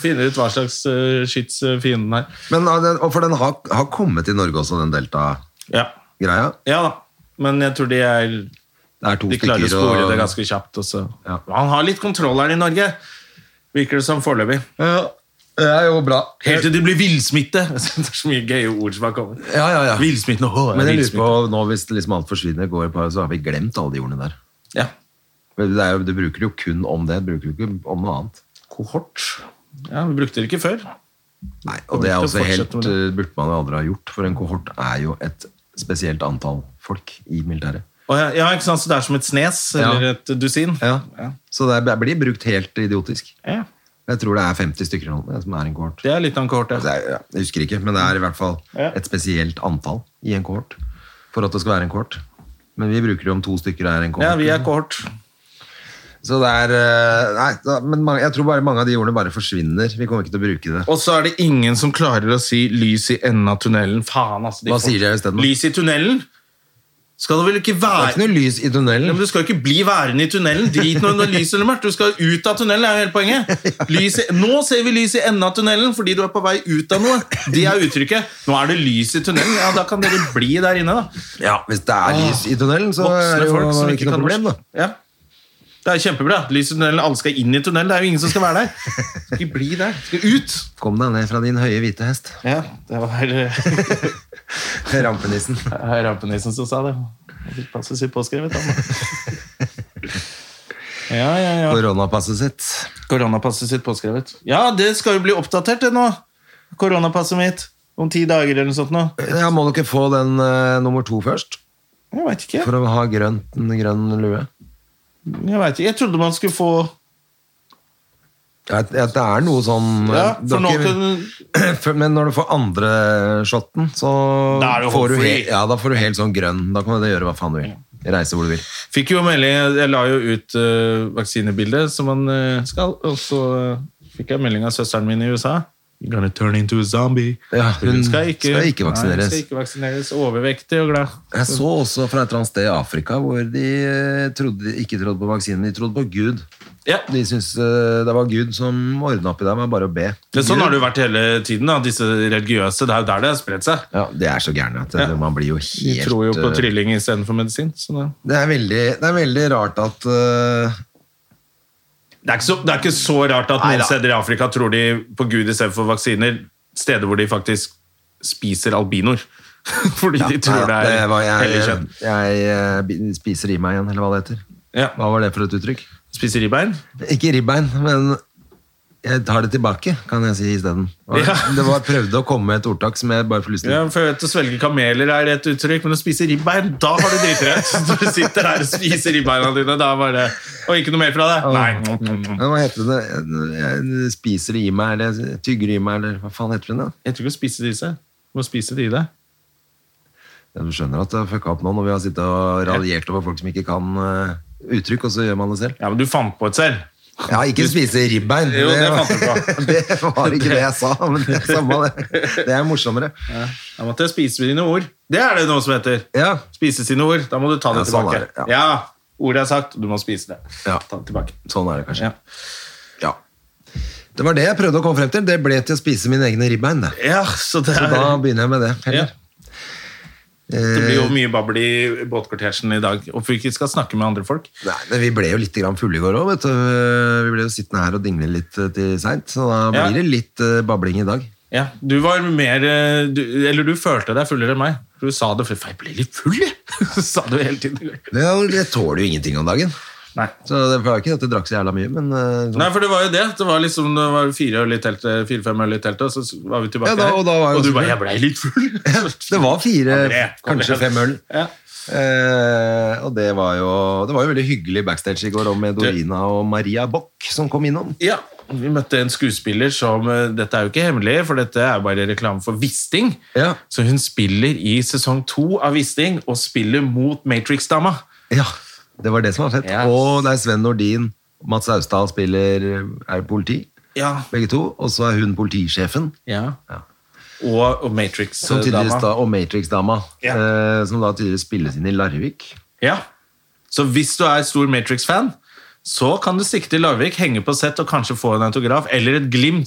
Finne ut hva slags eh, skyts eh, fienden er. Men, ja, den- og for den har, har kommet til Norge også, den delta-greia. Ja. ja da. Men jeg tror de er Det er to De klarer å stykker, spore og- det ganske kjapt. og så- Ja. Han har litt kontroll her i Norge, virker det som foreløpig. Ja, det er jo bra. Helt til de blir villsmitte. (laughs) Det er så mye gøye ord som har kommet. Ja, ja, ja. Villsmitten og hår. Men jeg lurer på, nå hvis liksom alt forsvinner, går et par, så har vi glemt alle de ordene der. Ja. Men Det er jo, du bruker det jo kun om det, du bruker det jo ikke om noe annet. Kohort. Ja, vi brukte det ikke før. Nei, og det er Kommer også til å helt, fortsette med eh, burde man jo aldri ha gjort, for en kohort er jo et spesielt antall folk i militæret. Og ja, ja, ikke sant, Så det er som et snes Ja. eller et dusin. Ja. Så det er- blir brukt helt idiotisk. Ja, Jeg tror det er 50 stykker eller noe, som er en kohort. Det er litt av en kohort, Det ja. er, ja, Altså, jeg husker ikke, men det er i hvert fall Ja. et spesielt antall i en kohort. For at det skal være en kohort. Men vi bruker jo om to stykker er en kohort. Ja, vi er kohort. Så det er eh, Nei, da, men mange, jeg tror bare mange av de ordene bare forsvinner. Vi kommer ikke til å bruke det. Og så er det ingen som klarer å si 'lys i enden av tunnelen'. Faen, altså. Hva sier de i stedet? Lys i tunnelen? Skal det vel ikke Det være er ikke noe lys i Ja, tunnelen. men Du skal jo ikke bli værende i tunnelen. Drit når det er lys eller mørkt. Du skal jo ut av tunnelen, er jo hele poenget. Lys i, nå ser vi lys i enden av tunnelen fordi du er på vei ut av noe. Det er uttrykket. Nå er det lys i tunnelen. Ja, da kan dere bli der inne, da. Ja, Hvis det er lys i tunnelen, så er Voksne det jo folk som ikke ikke noe kan problem, da. norsk. Ja. Det er kjempebra. Lys i tunnelen. Alle skal inn i tunnelen. Det er jo ingen som skal være der. Skal ikke bli der. Skal ut. Kom deg ned fra din høye hvite (laughs) hest. Ja, det var (laughs) eh, Rampenissen. rampenissen som sa det. Det fikk passet sitt påskrevet, han. da. (laughs) Ja, ja, ja. Koronapasset sitt. Koronapasset sitt påskrevet. Ja, det skal jo bli oppdatert det nå. Koronapasset mitt. Om ti dager eller noe sånt nå. Ja, må du ikke få den eh, nummer to først? Jeg veit ikke. for å ha grønt, en grønn lue? jeg vet ikke. Jeg trodde man skulle få At, at det er noe sånn Ja, for nå dere- kunne For- Men når du får andre shotten, så Da er det jo får du free. helt, ja, da får du helt sånn grønn. Da kan du gjøre hva faen du vil. Reise hvor du vil. Fikk jo melding, jeg la jo ut eh, vaksinebildet som man eh, skal, og så eh, fikk jeg melding av søsteren min i USA. You're gonna turn into a zombie. Ja, For hun skal ikke Nei, vaksineres. hun skal ikke vaksineres. Overvektig og glad. Jeg så også fra et eller annet sted i Afrika hvor de eh, trodde, ikke trodde på vaksinen, de trodde på Gud. Ja. De syntes eh, det var Gud som ordna opp i det med bare å be. Men sånn har det jo vært hele tiden, da. disse religiøse. Det er jo der det har spredt seg. Ja, De er så gærne at eh, Ja. man blir jo De helt tror jo på eh, trylling istedenfor medisin. Så det, det, er veldig, det er veldig rart at eh, det, er ikke så, det er ikke så rart at noen Neida. steder i Afrika tror de på Gud istedenfor vaksiner. Steder hvor de faktisk spiser albinoer. (laughs) Fordi de tror det nei, er var- jeg, hellig jeg, kjønn. eh, bi- spiser i meg igjen, eller hva det heter. Ja. Hva var det for et uttrykk? Spiser ribbein. Ikke ribbein, men jeg tar det tilbake, kan jeg si isteden. Og Ja. Det var prøvde å komme med et ordtak som jeg bare får lyst til. Ja, for jeg vet Å svelge kameler er et uttrykk, men å spise ribbein, da har du dritrett! Så (laughs) Du sitter her og spiser ribbeina dine, da er bare Og ikke noe mer fra deg? Nei. Men Hva heter det? Jeg- jeg Spiser det i meg, eller tygger det i meg, eller hva faen heter det? da? Jeg tror ikke å spise disse. Du må spise de det. Ja, Du skjønner at det har fucka opp nå når vi har sittet og raljert over folk som ikke kan eh, uttrykk, og så gjør man det selv. Ja, men du fant på et selv. Ja, ikke spise ribbein. Jo, det var- fant du på. (laughs) det var ikke det jeg sa, men det er samme det. Det er morsommere. Da måtte jeg spise dine ord. Det er det noe som heter. Ja, Spise sine ord. Da må du ta det Ja, sånn er tilbake. det, ja. ja. ordet er sagt, og du må spise det. Ja. Ta det tilbake. sånn er det kanskje. Ja. Ja. Det var det jeg prøvde å komme frem til. Det ble til å spise mine egne ribbein. Det. Ja, så det Så er... da begynner jeg med det. Ja. Heller. Eh. Det blir jo mye babbel i båtkortesjen i dag. Og for vi ikke skal snakke med andre folk. Nei, men Vi ble jo litt grann fulle i går òg. Vi ble jo sittende her og dingle litt eh, til seint. Så da Ja. blir det litt eh, babling i dag. Ja, du var mer eh, du, Eller du følte deg fullere enn meg. Du sa det for jeg ble litt full, jeg! (laughs) sa du hele tiden. Men jeg, jeg tåler jo ingenting om dagen. Nei. Så det var jo ikke at jeg drakk så jævla mye, men eh, Nei, for det var jo det. Det var liksom det var fire øl i teltet, fire-fem øl i teltet, og så var vi tilbake Ja, da- og da var her. jeg Og du også bare full. 'Jeg blei litt (laughs) full'. det var fire, André, kom kanskje igjen. fem øl. Ja. Eh, og det var, jo, det var jo veldig hyggelig backstage i går og med Du- Dorina og Maria Bock som kom innom. ja. Vi møtte en skuespiller som eh, Dette er jo ikke hemmelig, for dette er jo bare reklame for Wisting. Ja. Så hun spiller i sesong to av Wisting, og spiller mot Matrix-dama. Ja, det var det som var fett. Ja. Og det er Sven Nordin. Mats Austdal spiller er politi, Ja. begge to. Og så er hun politisjefen, ja. Ja. Og, og som tydeligvis Matrix-dama. da, og Matrix-dama. Ja. Eh, som da tydeligvis spilles inn i Larvik. Ja. Så hvis du er stor Matrix-fan, så kan du stikke til Larvik, henge på sett og kanskje få en autograf eller et glimt.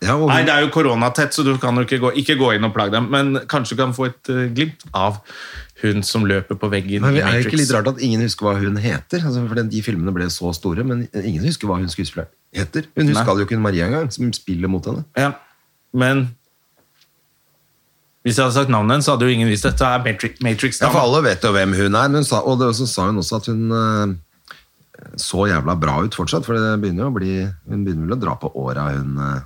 Ja, og hun, Nei, det er jo koronatett, så du kan jo ikke gå, ikke gå inn og plage dem, men kanskje du kan få et eh, glimt av hun som løper på veggen men i det er jo ikke Matrix. litt rart at ingen husker hva hun heter? Altså, for den- de filmene ble så store, men ingen husker hva hun skuespiller heter. Hun Nei. huska jo ikke hun Maria engang, som spiller mot henne. Ja. Men hvis jeg hadde sagt navnet hennes, så hadde jo ingen visst dette er Ja, Matrix- for Matrix-dama. alle vet jo hvem hun er, men hun sa, og det, så sa hun også at hun eh, så jævla bra ut fortsatt, for det begynner jo å bli, hun begynner vel å dra på åra, hun eh,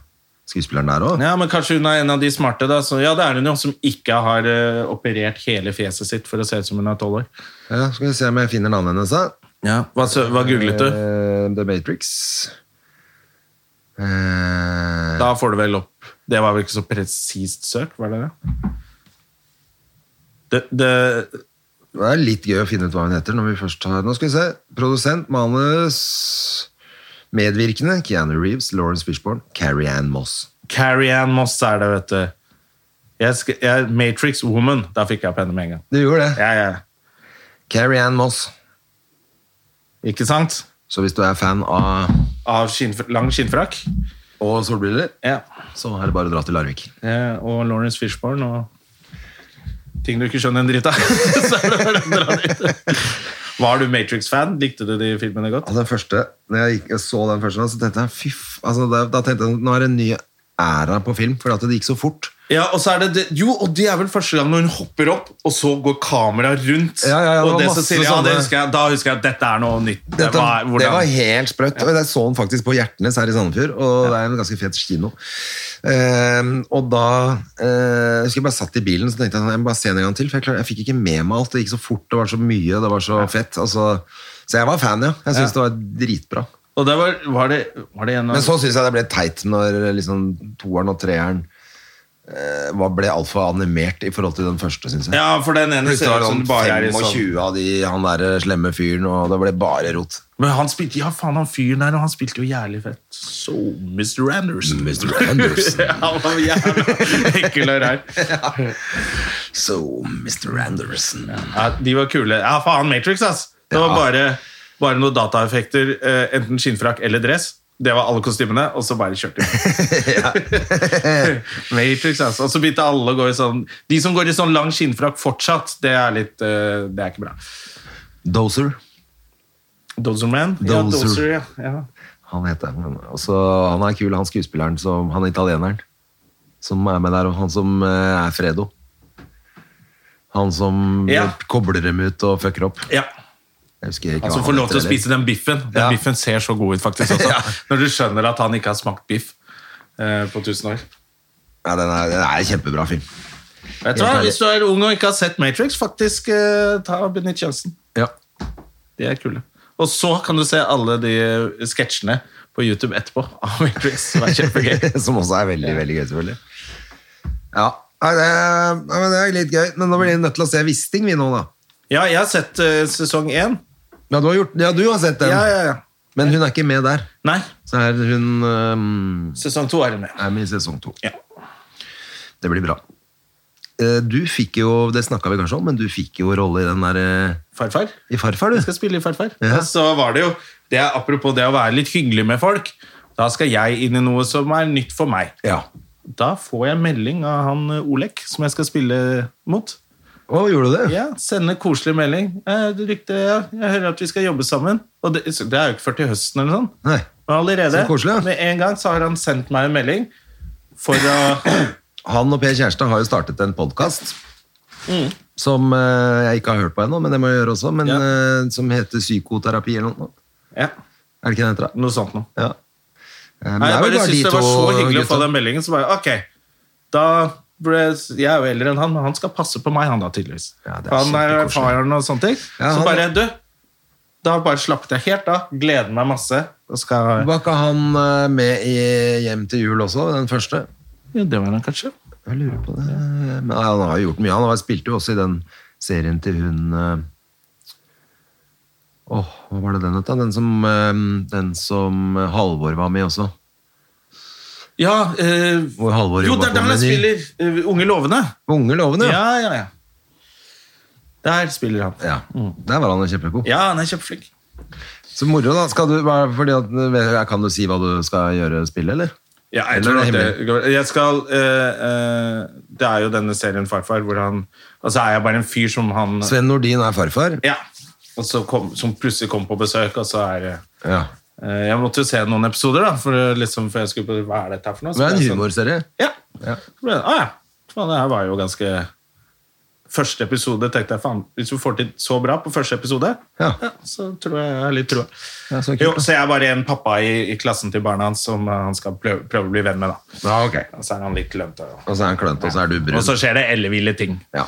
skuespilleren der også. Ja, men kanskje hun er en av de smarte, da. Så, ja, det er hun jo, som ikke har eh, operert hele fjeset sitt for å se ut som hun er tolv år. Ja, skal vi se om jeg finner navnet hennes da. Hva, sø- hva googlet du? Eh, The Matrix. Eh, Da får du vel opp Det var vel ikke så presist søk, var det det? Det, det det er litt gøy å finne ut hva hun heter når vi først har... Nå skal vi se. Produsent, manus, medvirkende, Keanu Reeves, Lawrence Fishburne, Carrie Ann Moss. Carrie Ann Moss er det, vet du. Jeg sk- jeg, Matrix Woman. Da fikk jeg opp henne med en gang. Du gjorde det. Ja, ja. Carrie Ann Moss. Ikke sant? Så hvis du er fan av... Av skinnf- lang skinnfrakk. Og solbriller. Ja. Så er det bare å dra til Larvik. Ja, Og Lawrence Fishborn og ting du ikke skjønner en dritt av. (laughs) Så er det bare å dra dit. Var du Matrix-fan? Likte du de filmene godt? Og den første, når jeg, gikk, jeg så den første, så tenkte jeg, fy f... Altså, da, da tenkte jeg, nå er det en ny æra på film, fordi at det gikk så fort. Ja, og så er det, det Jo, og det er vel første gang når hun hopper opp, og så går kameraet rundt. Ja, ja, ja, det og var det som masse sier, ja, det sånne- husker jeg, Da husker jeg at dette er noe nytt. Det Dette, var- hvordan- det var helt sprøtt. Og jeg så den faktisk på Hjertnes her i Sandefjord, og det er en ganske fet kino. Ehm, og da eh, husker jeg bare satt i bilen så tenkte jeg sånn, jeg må bare se den en gang til, for jeg, klar, jeg fikk ikke med meg alt. Det gikk så fort, det var så mye, det var så fett. Altså, så jeg var fan, ja. Jeg syns det var dritbra. Og det var, var, det, var det en av Men så syns jeg det ble teit når liksom, toeren og treeren eh, var- ble altfor animert i forhold til den første, syns jeg. Ja, for den ene Plutselig ser var det ut som sånn det bare er i sånn 25 av de, han der slemme fyren, og det ble bare rot. Men han spilte Ja, faen, han fyren der, og han spilte jo jævlig fett. Så Mr. Anderson. (laughs) Mr. Anderson. Ja, han var jævlig ekkel og (laughs) rar. So, Mr. Anderson. Ja, de var kule. Ja, faen, Matrix, ass! Det var Ja. bare, bare noen dataeffekter. eh, Enten skinnfrakk eller dress. Det var alle kostymene, og så bare kjørte (laughs) de. Matrix, ass. Og så begynte alle å gå i sånn De som går i sånn lang skinnfrakk fortsatt, det er litt eh, Det er ikke bra. Dozer. Dozer Man? Ja, Dozer. Dozer, ja. ja. Han heter han. Og så, han er kul, han skuespilleren, som, han italieneren som er med der, og han som eh, er Fredo. Han som Ja. kobler dem ut og fucker opp. ja. Jeg husker ikke Han hva som får lov heter til å spise den biffen. Den Ja. biffen ser så god ut, faktisk. (laughs) Også, Når du skjønner at han ikke har smakt biff eh, på 1000 år. Ja, den er, den er en kjempebra film. Vet du Helt hva? ærlig. Hvis du er ung og ikke har sett Matrix, faktisk eh, ta og benytt sjansen. Ja. De er kule. Og så kan du se alle de eh, sketsjene på YouTube etterpå av Matrix. Det er kjempegøy. (laughs) som også er veldig, veldig gøy, selvfølgelig. Ja, Nei, det, er- nei, men det er litt gøy. Men nå blir vi nødt til å se Wisting, vi nå, da. (laughs) Ja, jeg har sett eh, sesong én. Ja, du har, gjort, ja, du har sett den, Ja, ja, ja. men hun er ikke med der. Nei, Så er hun øhm, sesong to er det med. er med i sesong to. Ja. Det blir bra. Eh, Du fikk jo, det snakket vi kanskje om, men du fikk jo rolle i den der eh, Farfar? i Farfar, Jeg du. skal spille i Farfar. Ja. Og så var det jo det er Apropos det å være litt hyggelig med folk. Da skal jeg inn i noe som er nytt for meg. Ja. Da får jeg melding av han eh, Olek, som jeg skal spille mot. Å, gjorde du det? Ja, Sende koselig melding. Eh, det rykte, ja. Jeg hører at vi skal jobbe sammen. Og det, så det er jo ikke før til høsten eller sånn. Nei. Men allerede, Så koselig, ja. med en gang, så har han sendt meg en melding for å (clears throat) Han og Per Kjærstad har jo startet en podcast som eh, jeg ikke har hørt på ennå, men det må jeg gjøre også, men Mm. Ja. eh, som heter psykoterapi eller noe. Ja, Er det ikke den heter da? noe sånt noe. Ja. Eh, Men Nei, jeg vel bare de syntes det var to så hyggelig å få gutta. den meldingen, så bare ok. Da ble, jeg er jo eldre enn han, men han skal passe på meg, han da, tydeligvis. Ja, det er han er kjempekoselig. erfaren og sånne ting. Ja, så han- bare du, da bare slappet jeg helt av. Gleder meg masse. Og skal Var ikke han eh, med i Hjem til jul også, den første? Ja, Det var han kanskje. Jeg lurer på det. Men nei, han har jo gjort mye. Han har spilt jo også i den serien til hun eh, Åh, hva var det den het, da? Den som, eh, den som Halvor var med i også. Ja, eh, Hvor Halvor jo, jobbet det er på der han Meny. spiller eh, Unge lovende. Unge lovende, ja. Ja, ja, ja. Der spiller han. Ja, Der var han jo kjempegod. Mm. Ja, han er kjempeflink. Så moro, da. Skal du, hva- fordi at, eh, kan du si hva du skal gjøre spillet, eller? Ja, jeg Eller tror er at det det, jeg skal, eh, eh, det er jo denne serien Farfar, hvor han Og så er jeg bare en fyr som han Sven Nordin er farfar. Ja, og så kom, som plutselig kom på besøk, og så er det Ja. eh, Jeg måtte jo se noen episoder, da, for, det liksom, for jeg skulle på Hva er dette her for noe? Det er en Så ble jeg humorserie. Sånn, Ja. ja. Så ble jeg, ah, ja. Faen, det her var jo ganske Første episode tenkte jeg faen, hvis du får til så bra på første episode, Ja. så tror jeg jeg har litt trua. Ja, så kult, jo, da. så jeg er bare en pappa i, i klassen til barna hans som eh, han skal prøve, prøve å bli venn med, da. Ja, ok. Og så er han litt klønete. og- Og så er han klønete, og så er du brun. Og så skjer det elleville ting. Ja.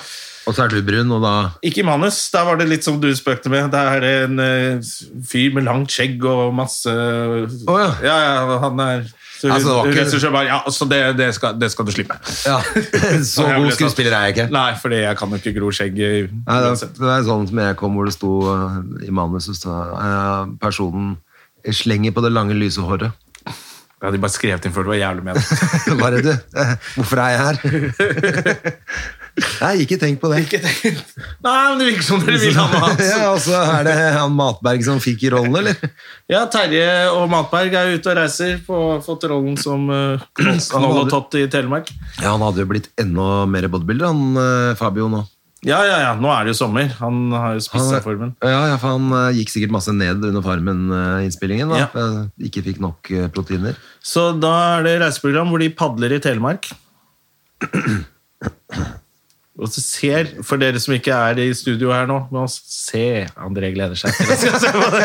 Og så er du brun, og da Ikke i manus. Der var det litt som du spøkte med. Det er en eh, fyr med langt skjegg og masse ja. ja, ja, han er så, Altså, det var ikke- regissør bare, ja, så det, det, skal, det skal du slippe. (laughs) Ja. (laughs) Så Og jeg god ble sånn, skuespiller er jeg ikke. Nei, fordi jeg kan jo ikke gro skjegg. i- Nei, det, er- uansett. det er sånn som jeg kom hvor det sto eh, i manuset sto, eh, Personen slenger på det lange, lyse håret. (laughs) Ja, de bare skrev det inn før det var jævlig med det. Hva er det du? (laughs) Eh, Hvorfor er jeg her? (laughs) Nei, ikke tenk på det. Ikke altså. tenkt. Nei, men det virker som dere vil ha noe annet. (laughs) Ja, og så er det han Matberg som fikk rollen, eller? Ja, Terje og Matberg er ute og reiser. På, fått rollen som eh, Knoll og Tott i Telemark. Ja, han hadde jo blitt enda mer bodybuilder, han eh, Fabio nå. Ja, ja, ja. Nå er det jo sommer. Han har jo spist Han, seg formen. ja, ja, for han eh, gikk sikkert masse ned under Farmen-innspillingen. Ja. Ikke fikk Eh, nok eh, proteiner. Så da er det reiseprogram hvor de padler i Telemark. Og så ser, For dere som ikke er i studio her nå, nå se André gleder seg til å se.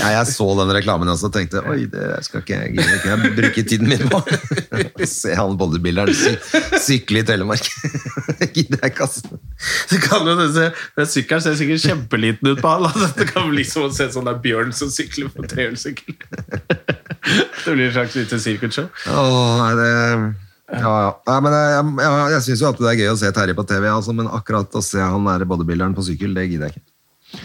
Ja, jeg så den reklamen også og tenkte oi, det skal ikke jeg, gidder ikke jeg bruke tiden min på. (laughs) Se han bodybuilderen sy sykle i Telemark. (laughs) Det gidder jeg ikke, altså. Det kan jo se, den Sykkelen ser sikkert kjempeliten ut på han. Altså. Det kan bli som å se sånn der bjørn som sykler på trehjulssykkel. (laughs) Det blir et slags lite sirkusshow. Åh, nei, det... Ja, ja. Nei, men jeg, jeg, jeg syns jo alltid det er gøy å se Terje på TV, altså, men akkurat å se han der bodybuilderen på sykkel, det gidder jeg ikke.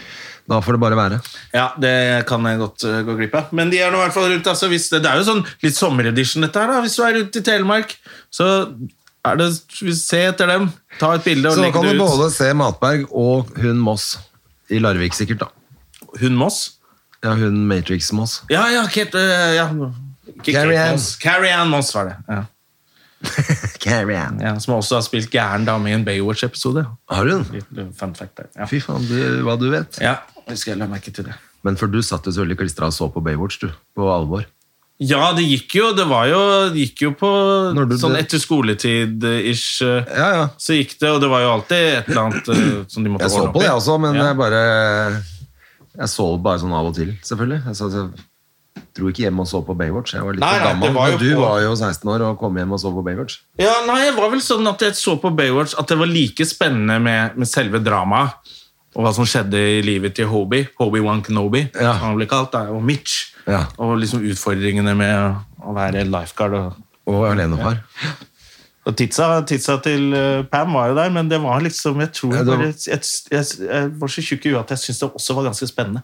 Da får det bare være. Ja, det kan jeg godt eh, gå glipp av. Men de er nå i hvert fall rundt. Altså, hvis det, det er jo sånn litt sommeredition, dette her. da Hvis du er rundt i Telemark, så er det Se etter dem. Ta et bilde og Så da legg kan det du ut. både se Matberg og hun Moss i Larvik, sikkert. da Hun Moss? Ja, hun Matrix (laughs) Moss. Ja, ja, Kate eh, ja. Ikke Carrie Kate Ann. Moss. Carrie Ann Moss var det. Ja. Carrie Ann. Ja, som også har spilt gæren dame i en Baywatch-episode. Har hun? Litt, eh, Fun fact der. Ja. Fy faen, du, hva du vet. ja, det skal jeg la merke til det. Men for du satt jo så veldig klistra og så på Baywatch, du. På alvor. Ja, det gikk jo Det var jo, det gikk jo på Når du- sånn etter skoletid-ish. eh, Ja, ja. Så gikk det, og det var jo alltid et eller annet eh, som de måtte Jeg så ordne opp på det altså. i. også, men Ja. jeg bare Jeg så bare sånn av og til, selvfølgelig. Jeg, så, jeg dro ikke hjem og så på Baywatch. Jeg var litt Nei, for nei, det gammel. var jo men du på- var jo 16 år og kom hjem og så på Baywatch. Ja, nei, det var vel sånn at jeg så på Baywatch at det var like spennende med, med selve dramaet og hva som skjedde i livet til Hobie. Hobie Wan Kenobi, Ja. som han ble kalt, da, og Mitch. Ja. Og liksom utfordringene med å være lifeguard. Og, Og alenefar. og tidsa, tidsa til eh, Pam var jo der, men det var liksom Jeg tror Ja, det var- bare, jeg, jeg, jeg var så tjukk i huet at jeg syntes det også var (laughs) ganske spennende.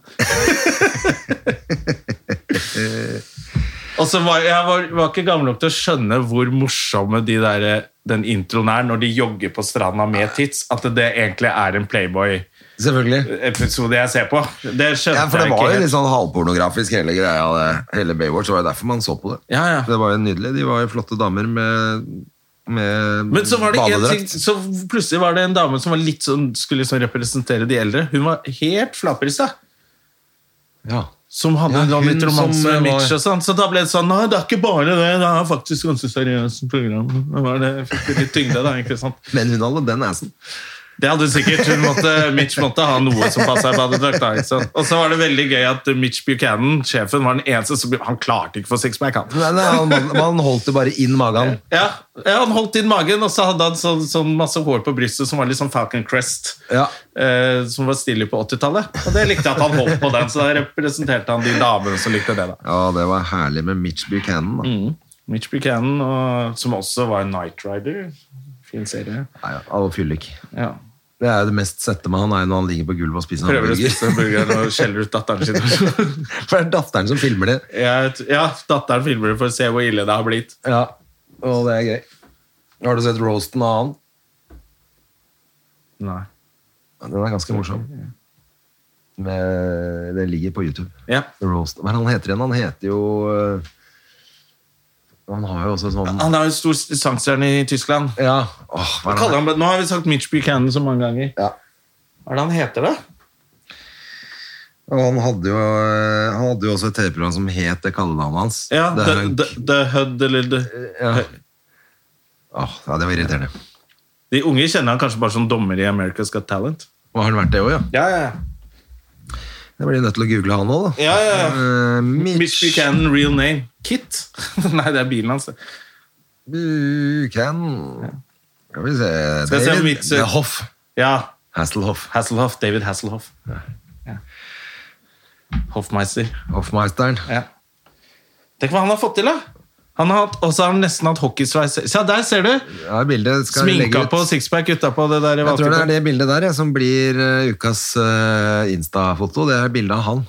Og så var jeg var, var ikke gammel nok til å skjønne hvor morsomme de der, eh, den introen er når de jogger på stranda med tits, at det egentlig er en Playboy-episode Selvfølgelig. jeg ser på. Det skjønte Ja, for det jeg var ikke jo helt. litt sånn halvpornografisk hele greia, det. hele Baywatch. Det var jo derfor man så på det. Ja, ja. Det var jo nydelig. De var jo flotte damer med, med Men så var det en ting, badedrakt. så plutselig var det en dame som var litt sånn, skulle liksom representere de eldre. Hun var helt flapperista. Ja. Som hadde Ja, da hun litt romanse som eh, med var- Mitch og sånn. Så da ble det sånn Nei, det er ikke bare det. Det er faktisk ganske seriøst program. Det var det, fikk det litt tyngde, da. ikke sant? Men hun hadde den assen. Det hadde hun sikkert. Hun måtte, Mitch måtte ha noe som passa i badedrakt. da, ikke sant? Og så var det veldig gøy at Mitch Buchanan, sjefen, var den eneste som Han klarte ikke å få sixpack, han. Nei, nei, han, man holdt det bare inn magen. Ja, ja, Han holdt inn magen, og så hadde han sånn, sånn masse hår på brystet som var litt sånn Falcon Crest. Ja. Eh, som var stilig på 80-tallet. Og det likte jeg at han holdt på den, så da representerte han de damene som likte det. da. ja, det var herlig med Mitch Buchanan. Da. Mm. Mitch Buchanan, og, som også var Night Rider. Fin serie. Nei, og fyllik. Ja. Det er jo det mest sette med han er jo når han ligger på gulvet og spiser Prøver å hamburger. spise en burger og skjeller ut datteren sin. (laughs) For det er datteren som filmer det. Jeg t- ja, datteren filmer det for å se hvor ille det har blitt. Ja, og det er gøy. Har du sett roasten av han? Nei. Den er ganske morsom. Med, den ligger på YouTube. Ja. Roast. Hva er det han heter igjen? Han heter jo øh, Han har jo også sånn Han er jo en stor sangstjerne i Tyskland. Ja. Åh, hva Hva er det kaller han? han, nå har vi sagt Mitch Buchanan så mange ganger. Ja. Hva er det han heter, da? Og han hadde jo, øh, han hadde jo også et TV-program som het det kallenavnet hans. Ja, det, The, the, the Hud eller the, ja. Åh, ja, det var irriterende. De unge kjenner han kanskje bare som dommer i America's Got Talent. Og har han vært det òg, ja? Ja, ja, ja. Jeg blir nødt til å google han òg, da. Ja, ja, ja. Eh, Mitch, Mitch Buchanan, real name. Kit. (laughs) Nei, det er bilen hans. det. Buchanan. Skal vi se Skal jeg se om David Mitch- Det er Hoff. sånn eh, Ja, Hasselhoff. Hasselhoff, David Hasselhoff. Ja. Hoffmeister. Hoffmeisteren. Ja. Tenk hva han har fått til, da! Han har hatt, og så har han nesten hatt hockeysveis. Se, der ser du! Ja, bildet skal vi legge Sminka ut. på sixpack utapå det der. Jeg tror det er det bildet der jeg, som blir eh, ukas eh, Insta-foto. Det er bildet av han.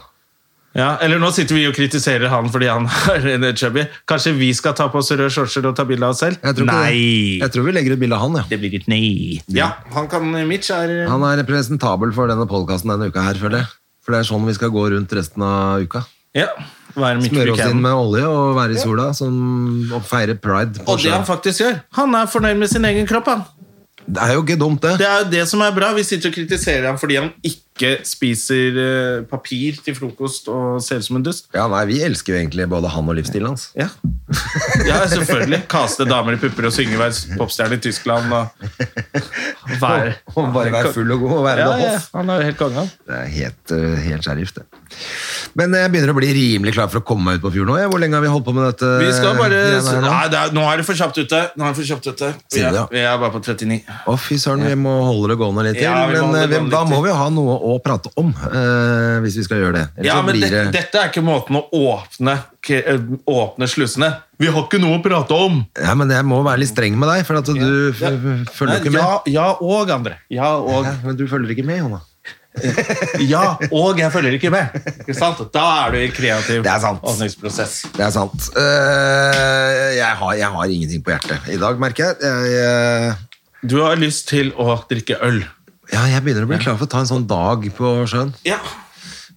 Ja, eller nå sitter vi og kritiserer han fordi han (laughs) har en chubby. Kanskje vi skal ta på oss røde shortser og ta bilde av oss selv? Jeg tror ikke nei! Det. Jeg tror vi legger ut bilde av han, ja. Det blir et nei. Ja, han kan eh, Mitch er Han er representabel for denne podkasten denne uka her, føler jeg. For det er sånn vi skal gå rundt resten av uka. Ja, være Mitch Smøre oss inn Buchanan. med olje og være i sola som, og feire pride. på Og det han sjøen. faktisk gjør, han er fornøyd med sin egen kropp, han. Det er jo ikke dumt, det. Det er jo det som er bra. Vi sitter og kritiserer ham fordi han ikke ikke spiser eh, papir til frokost og ser ut som en dust. Ja, nei, Vi elsker jo egentlig både han og livsstilen hans. Ja, (laughs) ja selvfølgelig. Kaste damer i pupper og synge være popstjerne i Tyskland. Og være Og bare være full og god og være ja, det ja, hoff. Han er jo helt konge, han. Det er helt, eh, helt sheriff, det. Men jeg begynner å bli rimelig klar for å komme meg ut på fjorden nå. jeg. Hvor lenge har vi holdt på med dette? Vi skal bare Eh, greiene her nå? Nei, det er, Nå er det for kjapt ute. Nå er det for kjapt ute. Vi Sier du det? er, vi er bare på 39. Å, fy søren, vi må holde det gående litt til. Ja, vi men må eh, holde det vi, gående da litt må til. vi jo ha noe å prate om eh, hvis vi skal gjøre det. Ellers Ja, så men blir det, det Dette er ikke måten å åpne, k- eh, åpne slusene Vi har ikke noe å prate om! Ja, men jeg må være litt streng med deg, for at du f- f- følger ikke med. ja, ja og, André. Ja og. Ja, men du følger ikke med, Jonna. Ja og jeg følger ikke med. Ikke sant? Da er du i kreativ Det er sant. åpningsprosess. Det er sant. Eh, jeg, har, jeg har ingenting på hjertet i dag, merker jeg. jeg eh, Du har lyst til å drikke øl. ja, jeg begynner å bli klar for å ta en sånn dag på sjøen. Ja.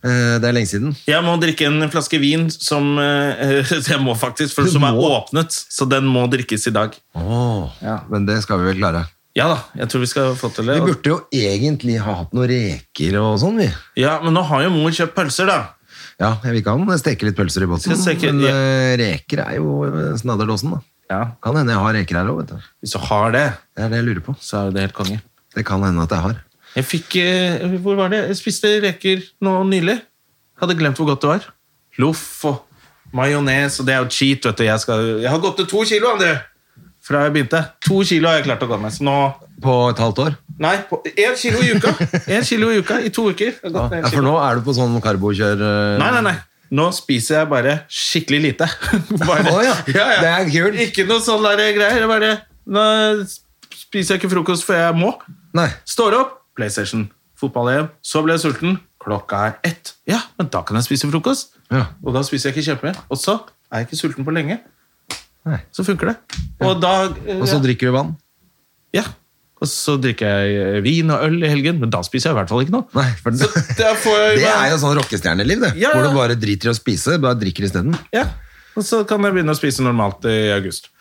Eh, det er lenge siden. Jeg må drikke en flaske vin som eh, (laughs) Jeg må faktisk, for Du som er må? åpnet, så den må drikkes i dag. Åh, Ja. Men det skal vi vel klare. Ja da, jeg tror vi skal få til det. Vi burde jo egentlig ha hatt noen reker og sånn, vi. Ja, Men nå har jo mor kjøpt pølser, da. Ja, jeg vil ikke ha den. Steke litt pølser i båten. Skal steke- Men eh, reker er jo eh, snadderdåsen, da. Ja, Kan hende jeg har reker her òg, vet du. Hvis du har det, Det er det jeg lurer på. så er jo det helt konge. Det kan hende at jeg har. Jeg fikk eh, Hvor var det? Jeg spiste reker nå nylig. Hadde glemt hvor godt det var. Loff og majones, og det er jo cheat, vet du. Jeg, skal, jeg har gått til to kilo, André! Fra jeg begynte. To kilo har jeg klart å gå med. Så nå På et halvt år? Nei, på- én kilo i (laughs) uka. Én kilo i uka i to uker. Jeg har gått ned en Ja, for kilo. nå er du på sånn karbokjør... eh, Nei, nei, nei. Nå spiser jeg bare skikkelig lite. (laughs) Bare, Å ja, det er kult. Ikke noe sånn der greier. Jeg Bare, nå spiser jeg ikke frokost før jeg må. Nei. Står opp, PlayStation, fotball-EM. Så ble jeg sulten. Klokka er ett. Ja, men da kan jeg spise frokost. Ja. Og da spiser jeg ikke kjempemye. Og så er jeg ikke sulten på lenge. Nei. Så funker det. Og da eh, Og så drikker du vann? ja. Og så drikker jeg eh, vin og øl i helgen, men da spiser jeg i hvert fall ikke noe. Nei, for (laughs) Så da får jeg Det er jo sånn rockestjerneliv, det. Ja, ja. Hvor du bare driter i å spise, bare drikker isteden. Ja, og så kan jeg begynne å spise normalt i august.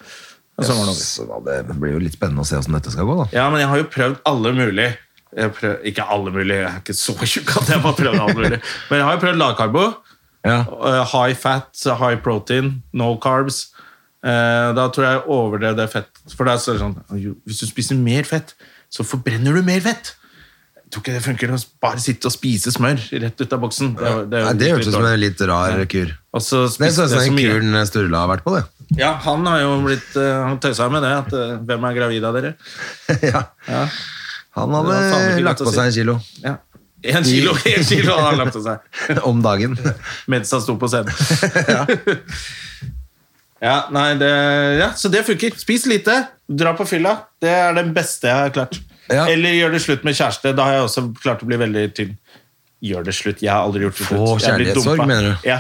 Og sommeren over. Så da, Det blir jo litt spennende å se åssen dette skal gå, da. Ja, men jeg har jo prøvd alle mulig. Jeg har prøvd, ikke alle mulig, jeg er ikke så tjukk at jeg bare prøvd alle mulig. Men jeg har jo prøvd lavkarbo. Ja. eh, High fat, high protein, no carbs. Eh, Da tror jeg jeg overdrev det fett. For da er det sånn, jo, hvis du spiser mer fett, så forbrenner du mer fett. Jeg tror ikke det funker å bare sitte og spise smør rett ut av boksen. Det, er- er jo Nei, det litt hørtes ut som dårlig. en litt rar kur. Og så Det spiste ser ut som jeg så den mye. kuren Sturla har vært på, det. (laughs) Ja, han har jo blitt eh, Han tøysa med det. At, eh, hvem er gravid av dere? ja. Ja. Han Det var faen hadde lagt ikke lett å på seg en kilo (laughs) ja. En kilo, en kilo har han lagt av seg om (laughs) dagen. mens han sto på (laughs) scenen. (laughs) ja, nei, det, ja, så det funker. Spis lite, dra på fylla. Det er det beste jeg har klart. Ja. Eller gjør det slutt med kjæreste. Da har jeg også klart å bli veldig tynn. Gjør det slutt. Jeg har aldri gjort det Få slutt. Jeg har blitt kjærlighetssorg, dumpa. mener du? Ja.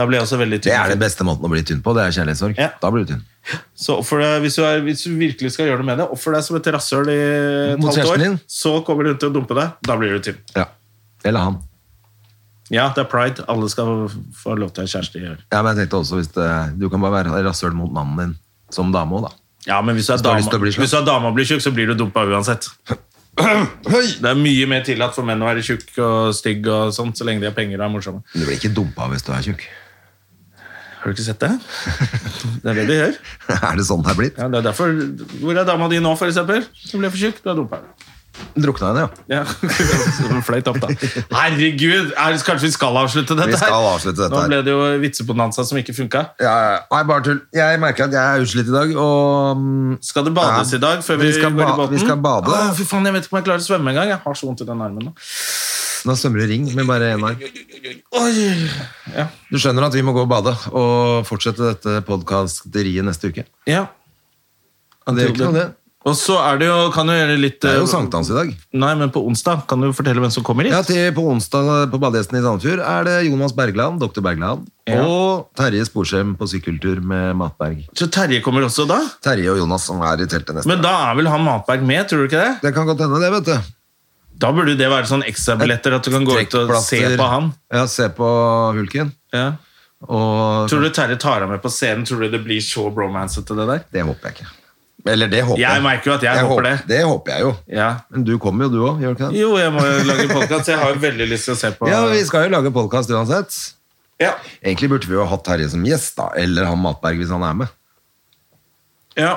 Da ble jeg også veldig tynn. Det er den beste måten å bli tynn på, det er kjærlighetssorg. Ja. Da blir du tynn. Så oppfør deg, hvis, du er, hvis du virkelig skal gjøre noe med det, oppfør deg som et rasshøl i et Mot halvt år. kjæresten din? Så kommer hun til å dumpe deg. Da blir du tynn. Ja. Eller han. Ja, det er pride. Alle skal få lov til å ha kjæreste. i år. Ja, men jeg tenkte også hvis det, Du kan bare være rasshøl mot mannen din som dame òg, da. Ja, men hvis du Hvis er du har dame, lyst til å bli slem. hvis du er dame og blir tjukk, så blir du dumpa uansett. Det er mye mer tillatt for menn å være tjukk og stygg og sånt, så lenge de har penger og er morsomme. Men Du blir ikke dumpa hvis du er tjukk. (laughs) Har du ikke sett det? Det er det de gjør. er det sånn det er blitt? Ja, det er derfor, hvor er dama di nå, for eksempel? Du ble for tjukk, du er dumpa. Drukna henne, ja. Ja. (laughs) Som fløyt opp, da. Herregud! Er, kanskje vi skal avslutte dette Vi skal avslutte dette Nå her. ble det jo vitsebonanza som ikke funka. ja. ja. Nei, bare tull. Jeg merker at jeg er utslitt i dag, og mm, Skal det bades Ja. i dag før vi, Vi skal går ba- i båten? vi skal bade. Å, fy faen, jeg vet ikke om jeg klarer å svømme engang. Jeg har så vondt i den armen nå. Nå svømmer du ring med bare én arm. Oi. Du skjønner at vi må gå og bade og fortsette dette podkasteriet neste uke? Ja. Ja, det gjør ikke noe, det. Og så er det jo, kan du gjøre litt Det er eh, jo sankthans i dag. Nei, men på onsdag kan du fortelle hvem som kommer hit. Ja, til På onsdag på Badegjesten i Sandefjord er det Jonas Bergland, doktor Bergland, Ja. og Terje Sporsem på sykkeltur med Matberg. Så Terje kommer også da? Terje og Jonas som er i teltet neste. Men da er vel han Matberg med, tror du ikke det? Det kan godt hende, det, vet du. Da burde det være sånn ekstrabilletter at du kan gå ut og se Trekkplaster. på han. Ja, se på hulken. Ja. Og Tror du Terje tar han med på scenen? Tror du det blir så bromancete, det der? Det håper jeg ikke. Eller det håper jeg. Jeg merker jo at jeg håper det. Det håper jeg jo. Ja. Men du kommer jo, du òg, gjør du ikke det? Jo, jeg må jo lage podkast. Jeg har jo veldig lyst til å se på Ja, vi skal jo lage podkast uansett. ja. Egentlig burde vi jo hatt Terje som gjest, da. Eller han Matberg, hvis han er med. ja.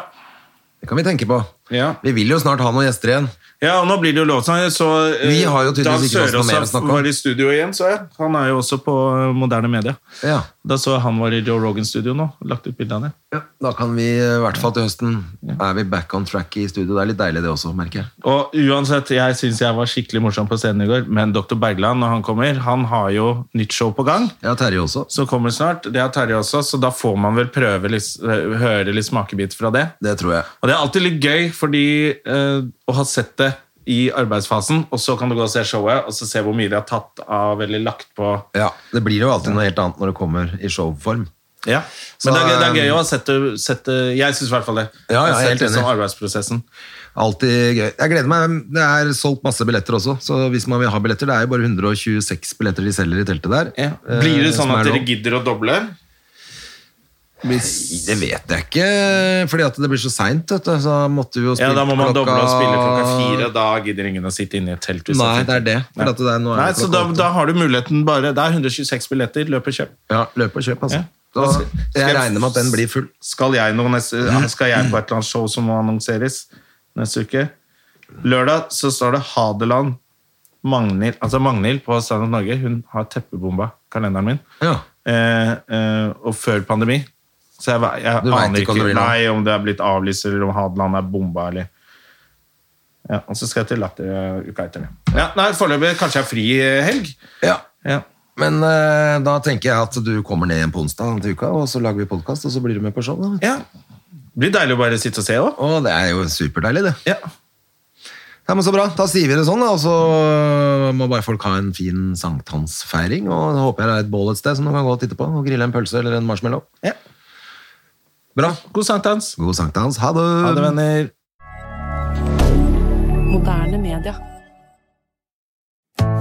Det kan vi tenke på. Ja. Vi vil jo snart ha noen gjester igjen. Ja, og nå blir det jo lov. Så, så eh, Vi har jo tydeligvis ikke Dag noe Sørås mer å snakke om. var i studio igjen, så jeg. Han er jo også på eh, moderne media. Ja. Da så jeg han var i Joe Rogan-studio nå. Lagt ut bilde av det. Da kan vi i hvert fall til høsten Er vi back on track i studio. Det er litt deilig, det også, merker jeg. Og uansett, jeg syns jeg var skikkelig morsom på scenen i går, men Dr. Bergland, når han kommer, han har jo nytt show på gang. Ja, Terje også. Som kommer snart. Det har Terje også, så da får man vel prøve litt, eh, høre litt smakebit fra det. Det tror jeg. Og det er alltid litt gøy, fordi eh, å ha sett det i arbeidsfasen, og så kan du gå og se showet, og så se hvor mye de har tatt av eller lagt på. Ja, Det blir jo alltid noe helt annet når det kommer i showform. Ja. Så, Men det, er, gøy- det er gøy eh, å ha sett det, sett det Jeg syns i hvert fall det. Ja, ja, jeg er Sett det helt som enig. arbeidsprosessen. Alltid gøy. Jeg gleder meg. Det er solgt masse billetter også, så hvis man vil ha billetter Det er jo bare 126 billetter de selger i teltet der. eh, Blir det sånn som er at dere lov. gidder å doble? Det vet jeg ikke, fordi at det blir så seint. Så måtte vi jo Ja, spille Da må man klokka- doble og spille klokka fire. Da gidder ingen å sitte inne i et telt. hvis Nei, jeg det tenker. er det. For at det er, nå er Nei, det så da, klokka åtte. da har du muligheten bare Det er 126 billetter. Løp og kjøp. Ja, løp og kjøp, altså. Ja. Da, Skal- skal jeg jeg- regner med at den blir full. Skal jeg, nå neste, Mm. skal jeg på et eller annet show som må annonseres neste uke? Lørdag så står det Hadeland Magnhild altså Magnhild på Standup Norge. Hun har teppebomba kalenderen min. Ja. Eh, eh, og før pandemi. Så jeg, va- jeg Du vet aner ikke om ikke det blir noe. nei, om det er blitt avlyst, eller om Hadeland er bomba, eller ja, Og så skal jeg til Latter eh, uka etter det. Ja, nei, Foreløpig kanskje jeg er fri eh, helg. ja. Ja. Men eh, da tenker jeg at du kommer ned igjen på onsdag til uka, og så lager vi podkast, og så blir du med på show. Da. ja. Blir deilig å bare sitte og se òg. Å, det er jo superdeilig, det. Ja. Ja, men Så bra. Da sier vi det sånn, da, og så må bare folk ha en fin sankthansfeiring. Og da håper jeg det er et bål et sted som du kan gå og titte på, og grille en pølse eller en marshmallow. Ja. Bra. God sankthans. God sankthans. Ha det! Ha det, venner. Moderne media.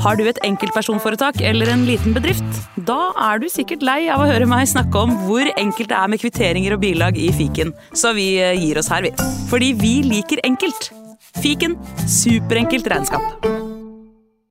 Har du et enkeltpersonforetak eller en liten bedrift? Da er du sikkert lei av å høre meg snakke om hvor enkelt det er med kvitteringer og bilag i fiken, så vi eh, gir oss her, vi. Fordi vi liker enkelt. Fiken superenkelt regnskap.